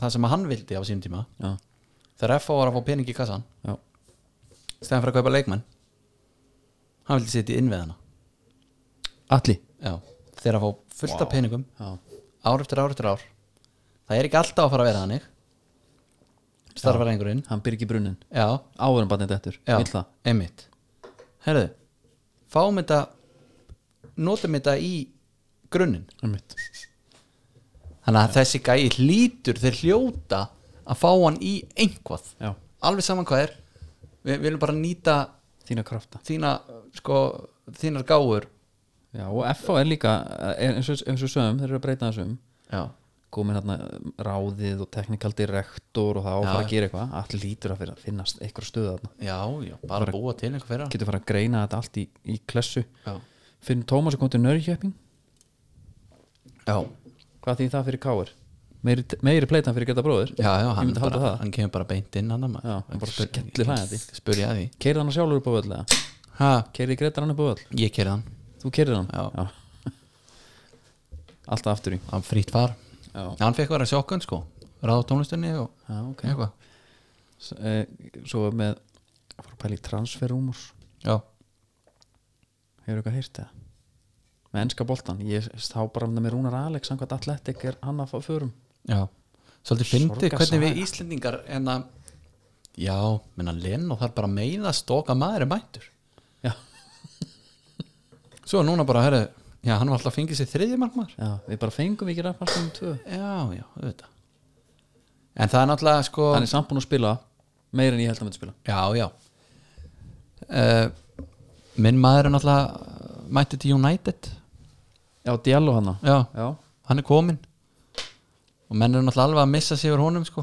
Speaker 2: það sem hann vildi á sínum tíma
Speaker 1: já,
Speaker 2: þegar F.O. var að fá pening í kassan
Speaker 1: já,
Speaker 2: stæðan fyrir að kaupa leikmenn hann vildi sitja inn við hana
Speaker 1: allir
Speaker 2: já, þegar að fá fullt af peningum
Speaker 1: já,
Speaker 2: ár eftir ár eftir ár það er ekki alltaf að fara að vera þannig starfar einhverjum
Speaker 1: hann byrgi brunnin
Speaker 2: já,
Speaker 1: áður en barnið dettur,
Speaker 2: Já,
Speaker 1: vill það
Speaker 2: einmitt Herðu, fáum þetta notum þetta í grunninn
Speaker 1: einmitt,
Speaker 2: Þannig að þessi gæi hlýtur þeir hljóta að fá hann í einhvað
Speaker 1: já,
Speaker 2: Alveg saman hvað er Við viljum bara nýta
Speaker 1: þína krafta
Speaker 2: þína, sko, þínar gáur
Speaker 1: Já, og FH er líka er eins og, eins og sögum, þeir eru að breyta þessum
Speaker 2: Já,
Speaker 1: komin hérna ráðið og technical director og það á að
Speaker 2: Já.
Speaker 1: fara að gera eitthvað allir lítur að fyrir að finnast eitthvað stöð þarna
Speaker 2: já, já bara búa til einhver fyrir
Speaker 1: getur fara að greina þetta allt í, í klessu
Speaker 2: Já,
Speaker 1: Finn Tómas er komið til Nörgjöping
Speaker 2: já,
Speaker 1: hvað þýðir það fyrir Káir? Meiri, meiri pleitan fyrir geta bróður
Speaker 2: já, já
Speaker 1: myndi
Speaker 2: hann,
Speaker 1: halda
Speaker 2: bara,
Speaker 1: það.
Speaker 2: hann kemur bara beint inn hann
Speaker 1: Já, hann bara skellir hlæjandi.
Speaker 2: Spurja því
Speaker 1: Keirði hann sjálfur upp á völl eða?
Speaker 2: ha,
Speaker 1: Keirði Gretar hann upp á völl?
Speaker 2: Ég kerði hann,
Speaker 1: Þú keirði hann?
Speaker 2: Já.
Speaker 1: (laughs) Alltaf aftur í
Speaker 2: hann frýtt var
Speaker 1: Já,
Speaker 2: hann fekk vera sjokkun sko ráð á tónlistunni og
Speaker 1: Já ok
Speaker 2: eitthvað
Speaker 1: S eh, Svo með fór að pæla í transferrúmurs
Speaker 2: já,
Speaker 1: Hefur eitthvað heyrt það? Með ennska boltan, ég þá bara með Rúnar Alex samkvæmt atletik er hann að fá förum
Speaker 2: já svolítið fyndið
Speaker 1: Sorgarsaga.
Speaker 2: hvernig við Íslendingar en að já, menna Lenn og þar bara meina stóka maður er mættur
Speaker 1: Já,
Speaker 2: (laughs) svo er núna bara, herru, já hann var alltaf að fengið sér þriðið markmaður
Speaker 1: já við bara fengum ekki rafparstum tvö
Speaker 2: já, já, auðvitað en það er náttúrulega sko
Speaker 1: Hann er samt búinn að spila meira en ég held að myndi spila
Speaker 2: já, já uh, minn maður er náttúrulega uh, mættur til United
Speaker 1: Já, Diallo hann
Speaker 2: já,
Speaker 1: Já,
Speaker 2: hann er komin og menn eru náttúrulega alveg að missa sig úr honum sko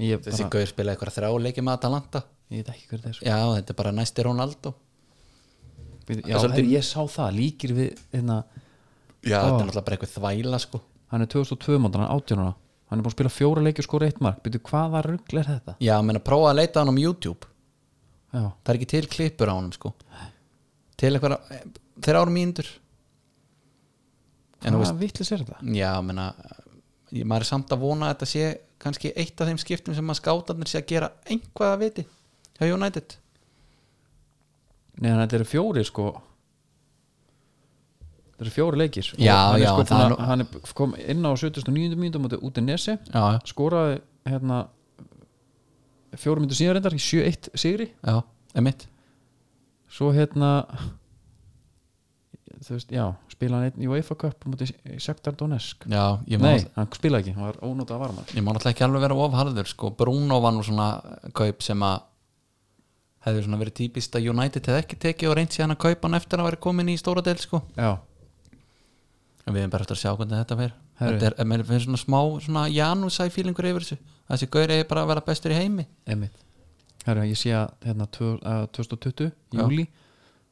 Speaker 1: ég,
Speaker 2: Þessi
Speaker 1: bara,
Speaker 2: gaur spilaði eitthvað þrjá leiki með Atalanta
Speaker 1: ég veit ekki hver það er sko. svo.
Speaker 2: Já, þetta er bara næsti Ronaldo
Speaker 1: Við-
Speaker 2: Það
Speaker 1: Já,
Speaker 2: er svolítið-
Speaker 1: svolítið... ég sá það, líkir við hérna,
Speaker 2: Já, þetta er náttúrulega bara eitthvað þvæla sko
Speaker 1: hann er 2002 mándan, hann er 18 ára Hann er búinn að spila fjóra leiki og skora eitt mark Býtu, hvaða rugl er þetta?
Speaker 2: Já, menn að prófa að leita á hann um YouTube
Speaker 1: Já,
Speaker 2: Það er ekki til klippur á honum sko Til eitthvað, þeir árum mínútur En þú
Speaker 1: hvaða vitlis er þetta?
Speaker 2: Já, menna ég, maður er samt að vona að þetta sé kannski eitt af þeim skiptum sem að skátarnir sé að gera einhvað að viti hjá United
Speaker 1: Nei, þannig að þetta eru fjóri sko Þetta eru fjóri leikir Og
Speaker 2: Já,
Speaker 1: hann er
Speaker 2: já,
Speaker 1: sko,
Speaker 2: það er
Speaker 1: búinn að- Hann er kom inn á 79. mínútum út í Nesi
Speaker 2: Já,
Speaker 1: skoraði hérna fjórum myndu síðan reyndar í 7-1 sigri
Speaker 2: já, emitt
Speaker 1: svo hérna þú veist, já, spilaði hann einn í UEFA Cup múti Sektar Donetsk
Speaker 2: Já, ég má,
Speaker 1: Nei, hann spilaði ekki, hann var ónótað varmar
Speaker 2: ég má náttúrulega ekki alveg vera ofharður sko, Bruno var nú svona kaup sem að hefði svona verið típist að United hefði ekki tekið og reynt síðan að kaupa hann eftir að vera komin í stóra del sko
Speaker 1: Já,
Speaker 2: en við erum bara eftir að sjá hvernig þetta fer
Speaker 1: Herru.
Speaker 2: þetta er, en mér finnst svona smá svona janúsæ fílingur yfir þessu þessi gaur eigi bara að vera bestur í heimi
Speaker 1: einmitt Herra, ég sé að hérna tvö- að 2020,
Speaker 2: Já.
Speaker 1: júli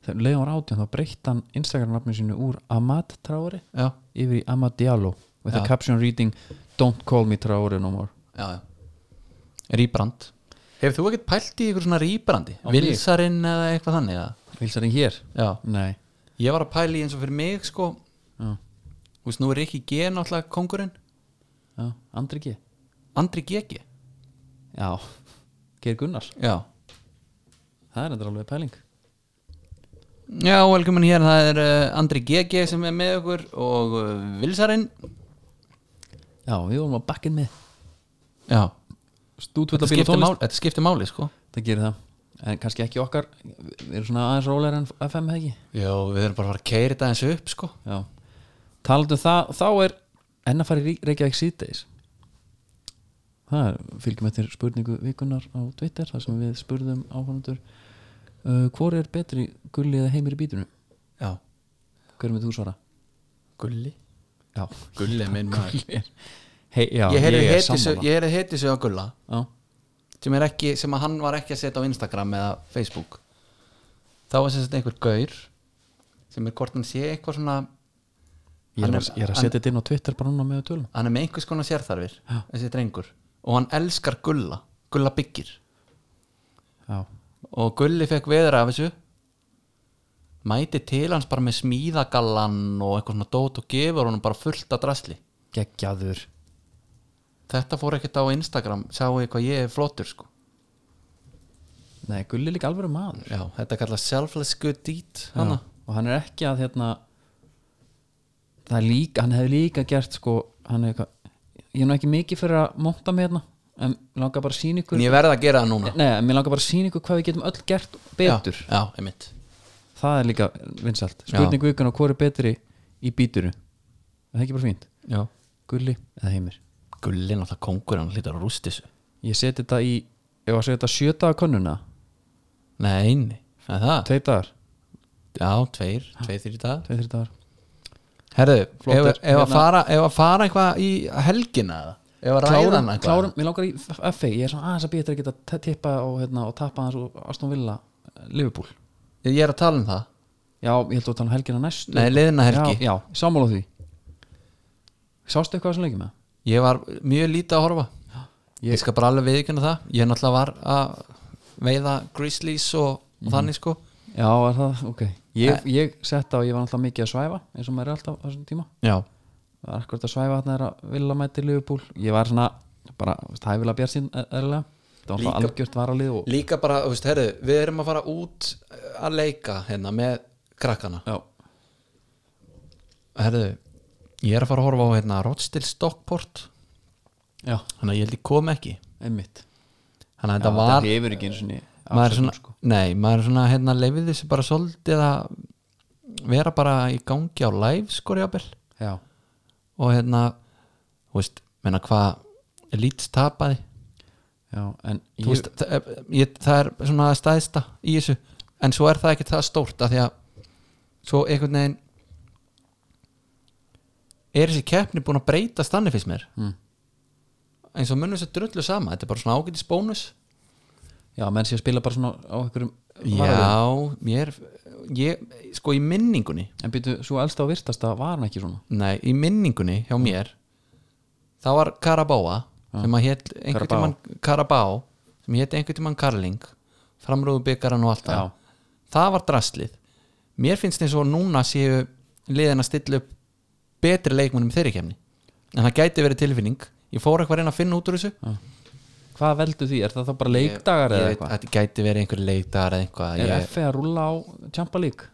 Speaker 1: þegar leiðan var átján, þá breytti hann Instagram-nafninu sínu úr Amad Traore
Speaker 2: já,
Speaker 1: yfir í Amad Diallo with
Speaker 2: Já.
Speaker 1: a caption reading Don't call me Traore no more
Speaker 2: já, já rýbrand hefur þú ekkert pælt í ykkur svona rýbrandi
Speaker 1: Á mig?
Speaker 2: vilsarinn eða eitthvað þannig eða?
Speaker 1: Vilsarinn hér?
Speaker 2: já,
Speaker 1: Nei,
Speaker 2: ég var að pæla í eins og fyrir mig sko
Speaker 1: já,
Speaker 2: þú veist, nú er ekki gen náttúrulega kongurinn
Speaker 1: já, Andri G
Speaker 2: Andri Geki
Speaker 1: já, Geir Gunnar
Speaker 2: Já,
Speaker 1: það er endur alveg pæling
Speaker 2: Já, velkomin hér, það er uh, Andri Geki sem er með okkur og uh, Vilsarinn
Speaker 1: já, við vorum að bakkin með
Speaker 2: Já, þetta
Speaker 1: stútvöldabíl og
Speaker 2: skiptir,
Speaker 1: tónlist
Speaker 2: máli, þetta skiptir máli sko
Speaker 1: það gerir það en kannski ekki okkar við erum svona aðeins rólegar en FM hegi
Speaker 2: Já, við erum bara að fara að keira þetta eins upp sko
Speaker 1: já talandu um það þá er enn að fara í Rí- Reykjavík síðdeis það er, fylgjum eftir spurningu vikunar á Twitter þar sem við spurðum áhvernandur uh, hvor er betri gulli eða heimir í bítinu
Speaker 2: Já,
Speaker 1: hver með þú svara
Speaker 2: Gulli
Speaker 1: já,
Speaker 2: Gulli er minn maður
Speaker 1: gulli er Hei, já,
Speaker 2: Ég heyrði heiti,
Speaker 1: sammála.
Speaker 2: ég heyrði heiti sig á Gulla
Speaker 1: já,
Speaker 2: sem, er ekki, sem að hann var ekki að setja á Instagram eða Facebook þá var sem sagt einhver gaur sem er hvort hann sé eitthvað svona
Speaker 1: ég,
Speaker 2: Hann
Speaker 1: er,
Speaker 2: er-
Speaker 1: að- ég er að setja þetta inn á Twitter bara núna með tölum
Speaker 2: hann er með einhvers konar sérþarfir þessi drengur og hann elskar Gulla Gulla byggir
Speaker 1: já,
Speaker 2: og Gulli fekk veður af þessu mæti til hans bara með smíðagallan og eitthvað svona dót og gefur honum bara fullt að drasli
Speaker 1: geggjaður
Speaker 2: þetta fór ekkert á Instagram sjáu ég hvað ég er flottur sko
Speaker 1: nei, gulli er líka alveg maður
Speaker 2: Já, þetta kallast selfless good deed
Speaker 1: Já,
Speaker 2: hana.
Speaker 1: og hann er ekki að hérna það er líka, hann hefði líka gert sko, hann hefði eitthvað ég er nú ekki mikið fyrir að monta mig hérna en langar bara að sína ykkur
Speaker 2: En ég verð að gera það núna
Speaker 1: nei, en mér langar bara að sína ykkur hvað við getum öll gert betur,
Speaker 2: Já, já einmitt
Speaker 1: það er líka vinsalt spurning vikuna, hvað er betri í bíturu það er ekki bara fínt
Speaker 2: Já.
Speaker 1: gulli eða heimir
Speaker 2: Gulli er náttúrulega kongur, hann hlýtar að rústi þessu
Speaker 1: ég seti þetta í, ef að segja þetta sjöta könnuna,
Speaker 2: Nei, einni, það er það
Speaker 1: tvei dagar
Speaker 2: Já, tveir, tveir, þrjir dag Hérna-
Speaker 1: tvei, þrjir dagar
Speaker 2: Herðu, ef,
Speaker 1: Flottir.
Speaker 2: ef, að fara, ef að fara eitthvað í helgina eða? Ef að ræða
Speaker 1: klárum,
Speaker 2: hann eitthvað
Speaker 1: klárum, mér langar í FA ég er svona aðeins að býta að geta t- tippa og, hérna, og tappa aðeins og Aston Villa eh, Liverpool
Speaker 2: Ég er að tala um það
Speaker 1: já, ég held að tala um helgina næstu
Speaker 2: Nei, liðina helgi.
Speaker 1: já, já sammála því sástu eitthvað sem leikir með
Speaker 2: Ég var mjög lítið að horfa Ég, skal bara alveg viðkynna það Ég náttúrulega var að veiða grizzlies og, og þannig sko
Speaker 1: já, er það, ok
Speaker 2: Eh.
Speaker 1: ég, ég setta og ég var alltaf mikið að svæfa eins og maður er alltaf á þessum tíma
Speaker 2: Já,
Speaker 1: það er akkurat að svæfa þarna er að Villa mæti Liverpool ég var svona, bara, hæfilega bjart sín erlega, eh, það var alltaf algjört varalið og,
Speaker 2: líka bara, þú veist, herðu Við erum að fara út að leika hérna með krakkana
Speaker 1: já,
Speaker 2: Herðu, ég er að fara að horfa á hérna Rotstil Stockport
Speaker 1: já,
Speaker 2: Þannig að ég held ég kom ekki
Speaker 1: einmitt
Speaker 2: Þannig að
Speaker 1: Já,
Speaker 2: þetta var
Speaker 1: þetta hefur ekki eins og
Speaker 2: maður er svona,
Speaker 1: sko.
Speaker 2: Nei, maður er svona hérna leifið þessu bara svolítið að vera bara í gangi á live sko jáfnvel
Speaker 1: já,
Speaker 2: og hérna, þú veist, menna hvað lítst tapaði
Speaker 1: já, en
Speaker 2: Þú veist, það, ég, það er svona staðista í þessu en svo er það ekki það stórt af því að svo einhvern veginn er þessi keppni búin að breyta stanni fyrst mér
Speaker 1: Mm.
Speaker 2: eins og munum þessu drullu sama þetta er bara svona ágætis bónus
Speaker 1: Já, menn sé að spila bara svona á einhverjum varaliðum.
Speaker 2: Já, mér ég, sko í minningunni
Speaker 1: En býtu, svo elsta og virtasta var hann ekki svona
Speaker 2: Nei, í minningunni
Speaker 1: Mm.
Speaker 2: hjá mér þá var Karabáa sem að hétt einhvern
Speaker 1: Carabao.
Speaker 2: tímann Karabá sem hétt einhvern tímann Karling framrúðu byggaran og allt það
Speaker 1: Já.
Speaker 2: það var draslið mér finnst eins og núna séu liðin að stilla upp betri leikmunum þeirri kemni en það gæti verið tilfinning ég fór eitthvað að reyna að finna út úr þessu
Speaker 1: Hvað veldu því? Er það þá bara leikdagar
Speaker 2: Ég
Speaker 1: eða
Speaker 2: veit,
Speaker 1: eitthvað?
Speaker 2: þetta gæti verið einhverju leikdagar eða eitthvað
Speaker 1: Er
Speaker 2: ég,
Speaker 1: FA að rúlla á Champa League?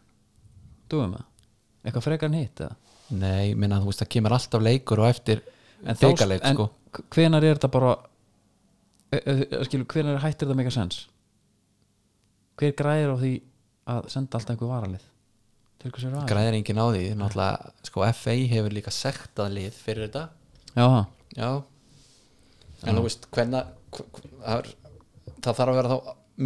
Speaker 1: Dúum það? Eitthvað frekar en hitt eða?
Speaker 2: nei, minna þú veist það kemur alltaf leikur og eftir
Speaker 1: En þá-
Speaker 2: byggarleik
Speaker 1: en
Speaker 2: sko
Speaker 1: h- hvenær er þetta bara e- e- e- skilu, hvenær hættir það meika sens? Hver græðir á því að senda alltaf einhver varalið? Til hvers er það?
Speaker 2: græðir enginn á því náttúrulega sko FA hefur líka sektað lið fyrir þetta
Speaker 1: Já, það.
Speaker 2: já en þú veist hvenna hv- hv- það er- það þarf að vera þá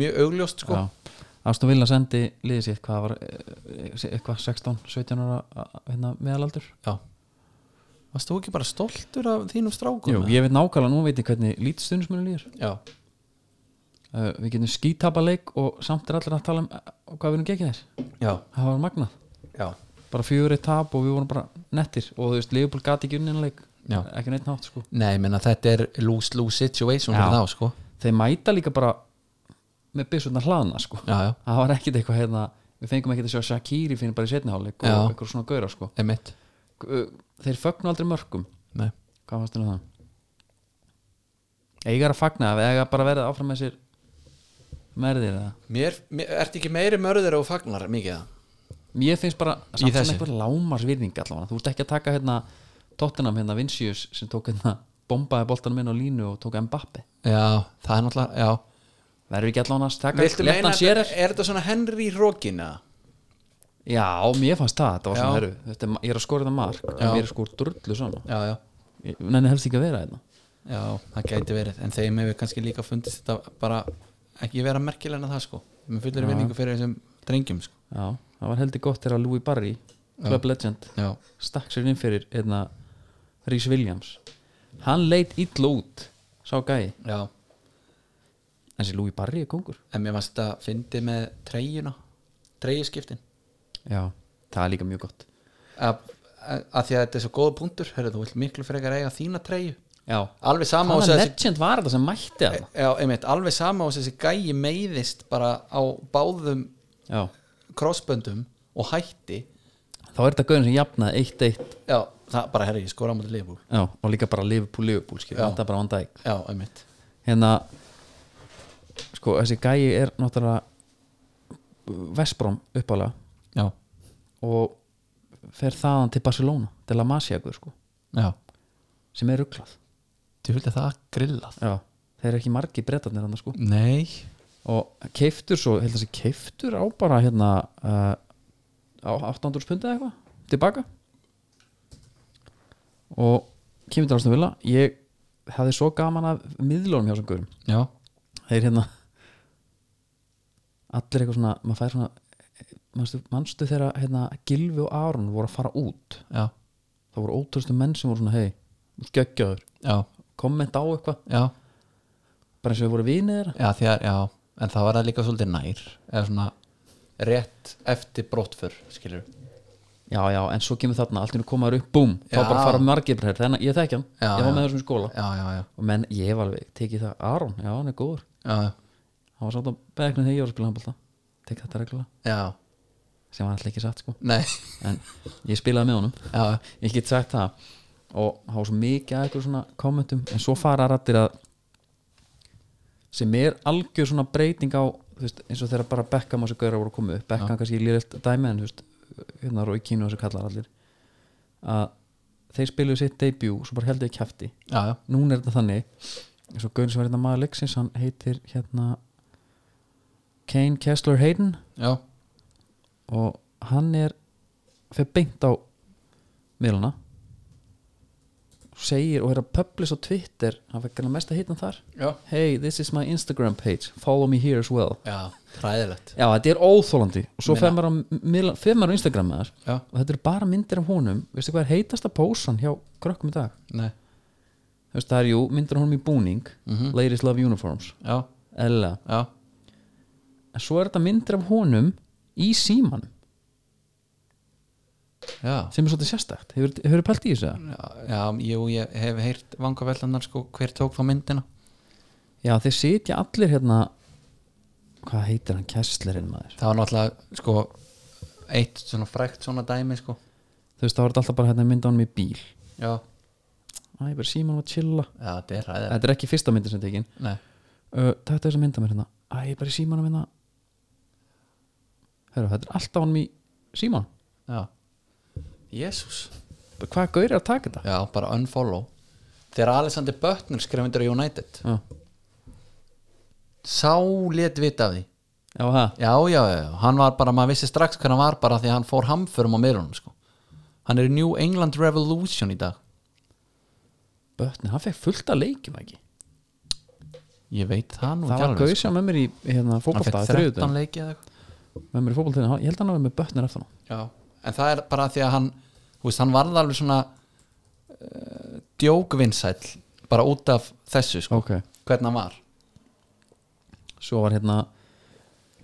Speaker 2: mjög augljóst sko
Speaker 1: Já. Aston Villa sendi liðið sitt hvað var eh, eh, eitthvað 16, 17 ára a- hérna, meðalaldur
Speaker 2: já. varst þú ekki bara stoltur af þínum strákum
Speaker 1: Jú,
Speaker 2: eða?
Speaker 1: ég veit nákvæmlega nú veit ég hvernig lítstunismunum líður
Speaker 2: já,
Speaker 1: uh, við getum skítapaleik og samt er allir að tala um uh, hvað við erum gekið þér
Speaker 2: já,
Speaker 1: það var magnað,
Speaker 2: já
Speaker 1: bara fjögur eitt tap og við vorum bara nettir og þú veist, Leopold gati ekki unninleik
Speaker 2: Já.
Speaker 1: ekki neitt nátt sko
Speaker 2: nei, ég meina þetta er lose-lose situation
Speaker 1: Já.
Speaker 2: fyrir þá sko
Speaker 1: þeir mæta líka bara með byssurnar hlaðna sko
Speaker 2: já, já,
Speaker 1: það var ekkit eitthvað hérna við fengum ekki að sjá Shakiri fyrir bara í setniháleik og
Speaker 2: Já.
Speaker 1: eitthvað svona gauðra sko
Speaker 2: emitt
Speaker 1: Uh, þeir fögnu aldrei mörgum
Speaker 2: nei,
Speaker 1: hvað fannst þér um það? eigar að fagna við eiga bara að vera áfram með sér merðir eða
Speaker 2: mér, mér ertu ekki meiri mörður og fagnar mikið það
Speaker 1: Mér finnst bara samt sem
Speaker 2: þessu.
Speaker 1: eitthvað lámarsvirðing allavega Þú ert ekki að taka hérna Tottenham hérna Vincius sem tók hérna bombaði boltanum inn á línu og tók Mbappi
Speaker 2: Já, það er náttúrulega, já
Speaker 1: Verður ekki allavega að taka
Speaker 2: Viltu meina,
Speaker 1: léttan
Speaker 2: er,
Speaker 1: sér
Speaker 2: er þetta svona Henry Rókina?
Speaker 1: Já, mér fannst það, þetta var
Speaker 2: Já.
Speaker 1: svona herru þetta, er ma- Ég er að skora þetta mark,
Speaker 2: Já.
Speaker 1: en mér er skor drullu sama
Speaker 2: Já, já,
Speaker 1: Ég- Nenni helst ekki að vera hérna
Speaker 2: já, það gæti verið En þeim hefur kannski líka fundist þetta bara ekki vera merkilega en það sko Mér fullir
Speaker 1: Já.
Speaker 2: vinningu fyrir þessum drengjum sko
Speaker 1: Já, það var heldur gott þegar Louis Barry Club Legend,
Speaker 2: Já,
Speaker 1: stakk sér inn fyrir hérna, Rhys Williams Hann leit illa út sá gæi,
Speaker 2: já
Speaker 1: en þessi Louis Barry er kongur
Speaker 2: En mér fannst þetta fyndi með treyjuna Treyjuskiptin
Speaker 1: Já, það er líka mjög gott
Speaker 2: Af af því að þetta er svo góða punktur Hörru, þú vilt miklu frekar eiga þína treyju
Speaker 1: Já,
Speaker 2: Alveg sama og
Speaker 1: Hvaða
Speaker 2: þessi
Speaker 1: legend var þetta sem mætti það?
Speaker 2: Já, einmitt, alveg sama og þessi gæi meiðist bara á báðum
Speaker 1: Eh, Já,
Speaker 2: crossböndum og hætti
Speaker 1: þá er þetta gauðin sem jafnaði 1-1
Speaker 2: Já, það bara herri, ég skora á mútið liðbúl
Speaker 1: Já, og líka bara Liverpool, Liverpool skil,
Speaker 2: Já.
Speaker 1: þetta er bara Van Dijk
Speaker 2: Já, einmitt
Speaker 1: Hérna, sko, þessi gæi er náttúrulega Vestbrom uppálega
Speaker 2: Já,
Speaker 1: og fer þaðan til Barcelona til La Masia, guð, sko,
Speaker 2: já
Speaker 1: sem er rugglað
Speaker 2: Þú vildi það grillað
Speaker 1: Já, þeir eru ekki margi breytarnir hann, sko
Speaker 2: Nei
Speaker 1: og keiftur svo, held að þessi keiftur á bara hérna uh, á 800 pundið eitthvað tilbaka og kemur til Aston Villa ég hafði svo gaman af miðlunum hjá þessum guðurum
Speaker 2: Já,
Speaker 1: þeir hérna allir eitthvað svona, maður fær svona manstu, manstu þegar hérna Gilvi og Aron voru að fara út
Speaker 2: já,
Speaker 1: það voru ótrústu menn sem voru svona hei, skeggjaður,
Speaker 2: já,
Speaker 1: komment á eitthvað
Speaker 2: já
Speaker 1: bara eins og við voru vinið þeirra
Speaker 2: Já, því að, já En það var það líka svolítið nær Eða svona rétt eftir brottför Skilur
Speaker 1: já, já, en svo kemur þarna, allt í hennu komaður upp, búm þá
Speaker 2: Já.
Speaker 1: bara fara margir breyr, þannig að ég þekki hann
Speaker 2: Já,
Speaker 1: ég var
Speaker 2: já.
Speaker 1: með þessum í skóla
Speaker 2: Já, já, já
Speaker 1: og menn, ég var alveg, tekið það, Aron, já, hann er góður
Speaker 2: Já,
Speaker 1: hann var samt á bekknum þegar ég var að spila handbólta tekið þetta reglulega,
Speaker 2: já
Speaker 1: sem var alltaf ekki satt sko
Speaker 2: Nei
Speaker 1: en ég spilaði með honum,
Speaker 2: Já,
Speaker 1: ég get sagt það og það var svo mikið að ykkur svona kommentum, en svo fara rættir að sem er algjör svona breyting á þú veist, eins og þegar bara Beckham og þessu gauðra voru komið upp Beckham kannski lýrilt dæmi en þú veist, hérna Rói Kínu og þessu kallar allir að þeir spiluðu sitt debut svo bara heldur ég kæfti
Speaker 2: já, já
Speaker 1: núna er þetta þannig eins og gauðin sem var hérna maður leiksins hann heitir hérna Kane Kessler Hayden
Speaker 2: Já,
Speaker 1: og hann er fyrir beint á miðluna segir og er að publish á Twitter hann fyrir gana mest að hitna þar
Speaker 2: já
Speaker 1: hey this is my Instagram page follow me here as well
Speaker 2: Já, ræðilegt
Speaker 1: já þetta er óþólandi og svo
Speaker 2: Meina-
Speaker 1: fyrir maður á, miðla- fer maður á Instagram með þar
Speaker 2: Já,
Speaker 1: og þetta eru bara myndir af honum veistu hvað er heitasta pósan hjá krökkum í dag
Speaker 2: nei
Speaker 1: Þú veist, það er jú myndir af honum í búning
Speaker 2: Mm.
Speaker 1: ladies love uniforms
Speaker 2: Mhm. Já,
Speaker 1: Ella.
Speaker 2: já
Speaker 1: en svo er þetta myndir af honum í síman
Speaker 2: Já
Speaker 1: sem er svolítið sérstakt hefur, hefur pælt í þessu það?
Speaker 2: Já, já, jú, ég hef heyrt vangaveldanar sko hver tók þá myndina
Speaker 1: já þeir sitja allir hérna hvað heitir hann kesslerinn maður
Speaker 2: það var náttúrulega sko eitt svona frækt svona dæmi sko
Speaker 1: þú veist það var þetta alltaf bara hérna mynd á honum í bíl
Speaker 2: já,
Speaker 1: æ, bara síman var chilla
Speaker 2: já þetta er ræðilegt
Speaker 1: þetta er ekki fyrsta myndin sem tekin
Speaker 2: nei,
Speaker 1: uh, takk þess að mynda mér hérna æ, bara síman að minna Heru, þetta er alltaf honum í síman
Speaker 2: já jésús,
Speaker 1: hvað gaur er að taka þetta
Speaker 2: já bara unfollow þegar Alexander Böttner skrifundur á United
Speaker 1: já,
Speaker 2: sá let vita af því
Speaker 1: já það
Speaker 2: já, já, já, já, hann var bara, maður vissi strax hver hann var bara því að hann fór hamförum á meirunum sko hann er í New England Revolution í dag
Speaker 1: Bötni, hann fekk fullt að leikjum ekki
Speaker 2: ég veit það nú
Speaker 1: það var
Speaker 2: alveg,
Speaker 1: gaur sem með mér í hérna,
Speaker 2: sko. hann
Speaker 1: fótbolta
Speaker 2: fekk
Speaker 1: á þriðjudaginn.
Speaker 2: 13 leiki eða eitthvað
Speaker 1: með mér í fótbolteginu, ég held að hann hafi með bötnir eftir hann
Speaker 2: Já, en það er bara því að hann þú veist, hann varð alveg svona uh, djókvinsæll bara út af þessu sko,
Speaker 1: ok,
Speaker 2: hvernig hann var
Speaker 1: svo var hérna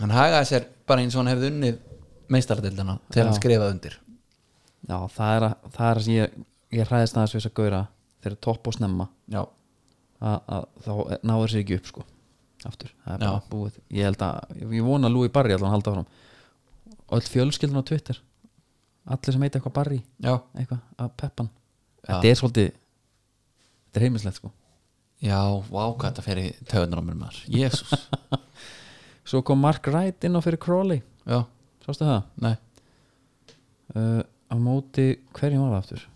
Speaker 2: hann hagaði sér bara eins og hann hefði unnið meistardeildina þegar
Speaker 1: Já.
Speaker 2: hann skrifaði undir
Speaker 1: já, það er að, það er að sem ég, ég hræðist aðeins við þess að gauðra þegar topp og snemma
Speaker 2: Já,
Speaker 1: að, að þá náður sér ekki upp sko aftur, það er bara
Speaker 2: Já.
Speaker 1: búið ég held að, ég- ég vona að Lúi Barri allan halda fram og öll fjölskyldun á Twitter allir sem heita eitthvað Barri
Speaker 2: já,
Speaker 1: eitthvað, að peppan
Speaker 2: Já.
Speaker 1: þetta er svolítið þetta er heimilslegt sko
Speaker 2: já, vá, hvað þetta fer í töðunar á mér maður, jésús
Speaker 1: (laughs) svo kom Mark Wright inn á fyrir Crawley
Speaker 2: já,
Speaker 1: sástu það
Speaker 2: nei,
Speaker 1: uh, á móti hverjum var það aftur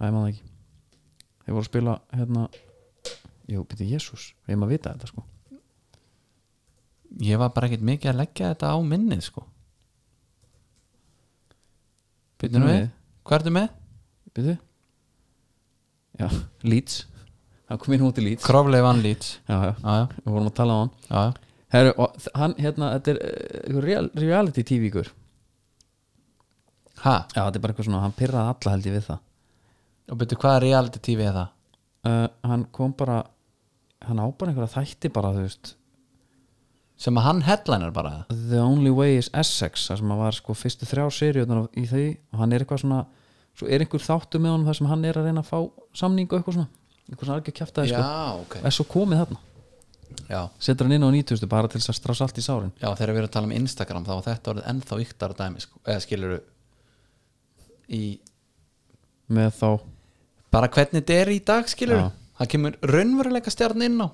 Speaker 1: það er maður ekki þeir voru að spila hérna jú, byrja Jésús, ég maður vita þetta sko
Speaker 2: ég var bara ekkert mikið að leggja þetta á minnið sko byrjum við, hvað ertu með?
Speaker 1: byrju já, Leeds hann kom inn á móti Leeds já,
Speaker 2: Krovlei vann lít
Speaker 1: já,
Speaker 2: já, já,
Speaker 1: við vorum að tala á hann
Speaker 2: já, já.
Speaker 1: Heru, og þ- hann hérna, þetta er uh, real, reality tv ykkur
Speaker 2: ha,
Speaker 1: já, þetta er bara eitthvað svona, hann pirraði alla held ég við það
Speaker 2: og byrju, hvað er reality tv er það?
Speaker 1: uh, hann kom bara hann á bara einhverja þætti bara, þú veist
Speaker 2: sem að hann headliner bara eða?
Speaker 1: The Only Way is Essex þar sem hann var sko fyrstu þrjá seriunar í því og hann er eitthvað svona svo er einhver þáttu með honum þar sem hann er að reyna að fá samningu og eitthvað svona eitthvað svona algjör kjaftaði sko
Speaker 2: ok
Speaker 1: er svo komið þarna
Speaker 2: já,
Speaker 1: setur hann inn á 90 bara til þess að strása allt í sárin
Speaker 2: Já, þegar við erum að tala um Instagram þá var þetta orðið ennþá yktara dæmi sko, eða skilur í
Speaker 1: með þá
Speaker 2: bara hvernig þetta er í dag skilur
Speaker 1: Já.
Speaker 2: það kemur raunveruleika stjarn inn á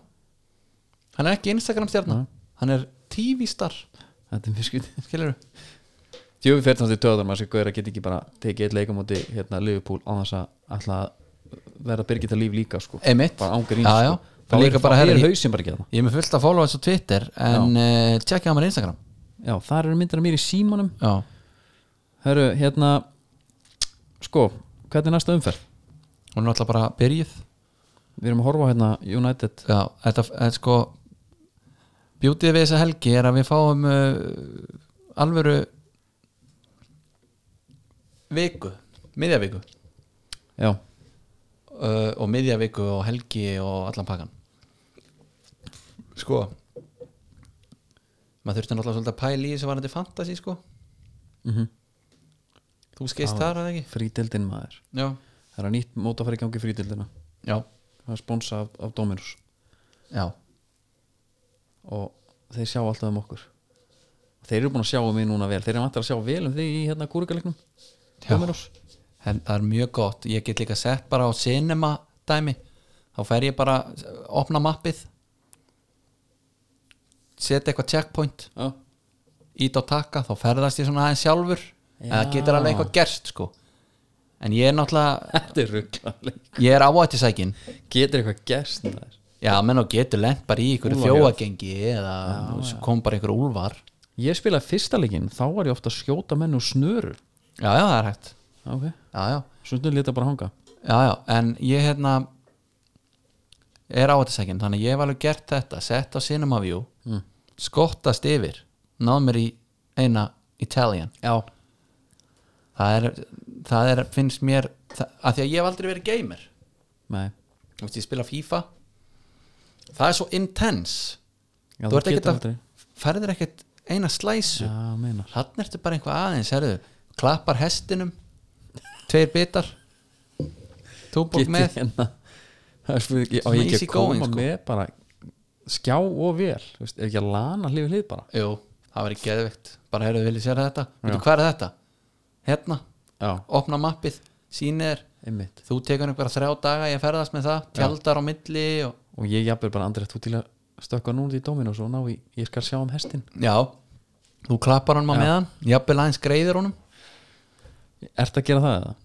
Speaker 2: hann er ekki Instagram stjarn hann er TV-star
Speaker 1: þetta er mjög skut
Speaker 2: skilur
Speaker 1: djöfi fyrir þannig töðar maður sem gauðir að geta ekki bara tekið eitt leikamóti hérna Liverpool á þess að ætla að vera að byrgita líf líka sko
Speaker 2: Emitt,
Speaker 1: bara ángur
Speaker 2: já, já.
Speaker 1: sko. þá
Speaker 2: Líka
Speaker 1: er,
Speaker 2: bara,
Speaker 1: bara, er
Speaker 2: herri,
Speaker 1: hausin bara ekki þarna
Speaker 2: ég er með fullt að followa þessu Twitter en uh, tjekkja hann á Instagram
Speaker 1: já, þar eru myndir af mér í símanum
Speaker 2: já.
Speaker 1: Hörru, hérna sko, hvernig er næsta umferð?
Speaker 2: hún er alltaf bara byrjuð
Speaker 1: Við erum að horfa á hérna United
Speaker 2: já, þetta, þetta sko bjútið við þessa helgi er að við fáum uh, alvöru viku, miðjaviku
Speaker 1: Já,
Speaker 2: uh, og miðjaviku og helgi og allan pakkan sko maður þurfti náttúrulega svolítið að pæla í þessu varandi fantasy sko
Speaker 1: mm -hmm.
Speaker 2: þú skeist þar að ekki
Speaker 1: frídeldin maður
Speaker 2: já,
Speaker 1: Það er að nýtt mót að fara í gangi frídeldina
Speaker 2: já,
Speaker 1: Það er sponsa af, af Dominus
Speaker 2: já,
Speaker 1: og þeir sjá alltaf um okkur Þeir eru búin að sjá um mig núna vel Þeir eru vantar að sjá vel um þig í hérna kúrikaleiknum
Speaker 2: Já.
Speaker 1: Dominus
Speaker 2: En það er mjög gott ég get líka sett bara á cinema dæmi þá fer ég bara opna mappið setja eitthvað checkpoint
Speaker 1: Já, (laughs)
Speaker 2: ít á taka þá ferðast ég svona aðeins sjálfur
Speaker 1: Já.
Speaker 2: en það getur alveg eitthvað gerst sko en ég er náttúrulega
Speaker 1: þetta er rugglaleg
Speaker 2: ég er áættisækin
Speaker 1: Getur eitthvað gerst maður
Speaker 2: já menn og getur lent bara í einhverju
Speaker 1: Úlfar,
Speaker 2: þjóagengi eða já, kom bara einhverju úlvar
Speaker 1: Ég spilaði fyrsta leikinn, þá var ég ofta að skjóta menn úr snöru
Speaker 2: já já það er hægt
Speaker 1: Ok,
Speaker 2: já já,
Speaker 1: stundum lita bara hanga
Speaker 2: já, já. en ég hérna er áættisækin þannig að ég hef alveg gert þetta sett á cinema view
Speaker 1: Mm.
Speaker 2: skottast yfir náð mér í eina Italian
Speaker 1: Já,
Speaker 2: það er, það er finnst mér það, að því að ég hef aldrei verið gamer
Speaker 1: nei
Speaker 2: Þú veist, ég spila FIFA það er svo intense
Speaker 1: Já,
Speaker 2: Þú ert ekkert
Speaker 1: getur
Speaker 2: að-
Speaker 1: aldrei.
Speaker 2: færðir ekkert eina slæsu
Speaker 1: Já, meinar
Speaker 2: hann ertu bara einhvað aðeins herðu, klappar hestinum tveir bitar túbók
Speaker 1: Get ég
Speaker 2: með
Speaker 1: hérna Það er spurning, ég- á
Speaker 2: Svona
Speaker 1: ég ekki
Speaker 2: easy
Speaker 1: að koma
Speaker 2: going, sko.
Speaker 1: með bara skjá og vel, þú veist, er ekki að lana hlifið hlið bara
Speaker 2: jú, það verið geðvegt bara herðu, viljið sér þetta,
Speaker 1: Já.
Speaker 2: veitu hvað er þetta hérna,
Speaker 1: Já,
Speaker 2: opna mappið sýnir,
Speaker 1: einmitt
Speaker 2: þú tekur einhverja þrjá daga ég ferðast með það, tjaldar á milli og
Speaker 1: Og ég jafnir bara Andrið, þú til að stökka núna í dóminu og svo ná í, ég skal sjá um hestin
Speaker 2: Já, þú klappar honum á
Speaker 1: Já.
Speaker 2: meðan Jafnvel aðeins greiðir honum
Speaker 1: Ertu að gera það eða?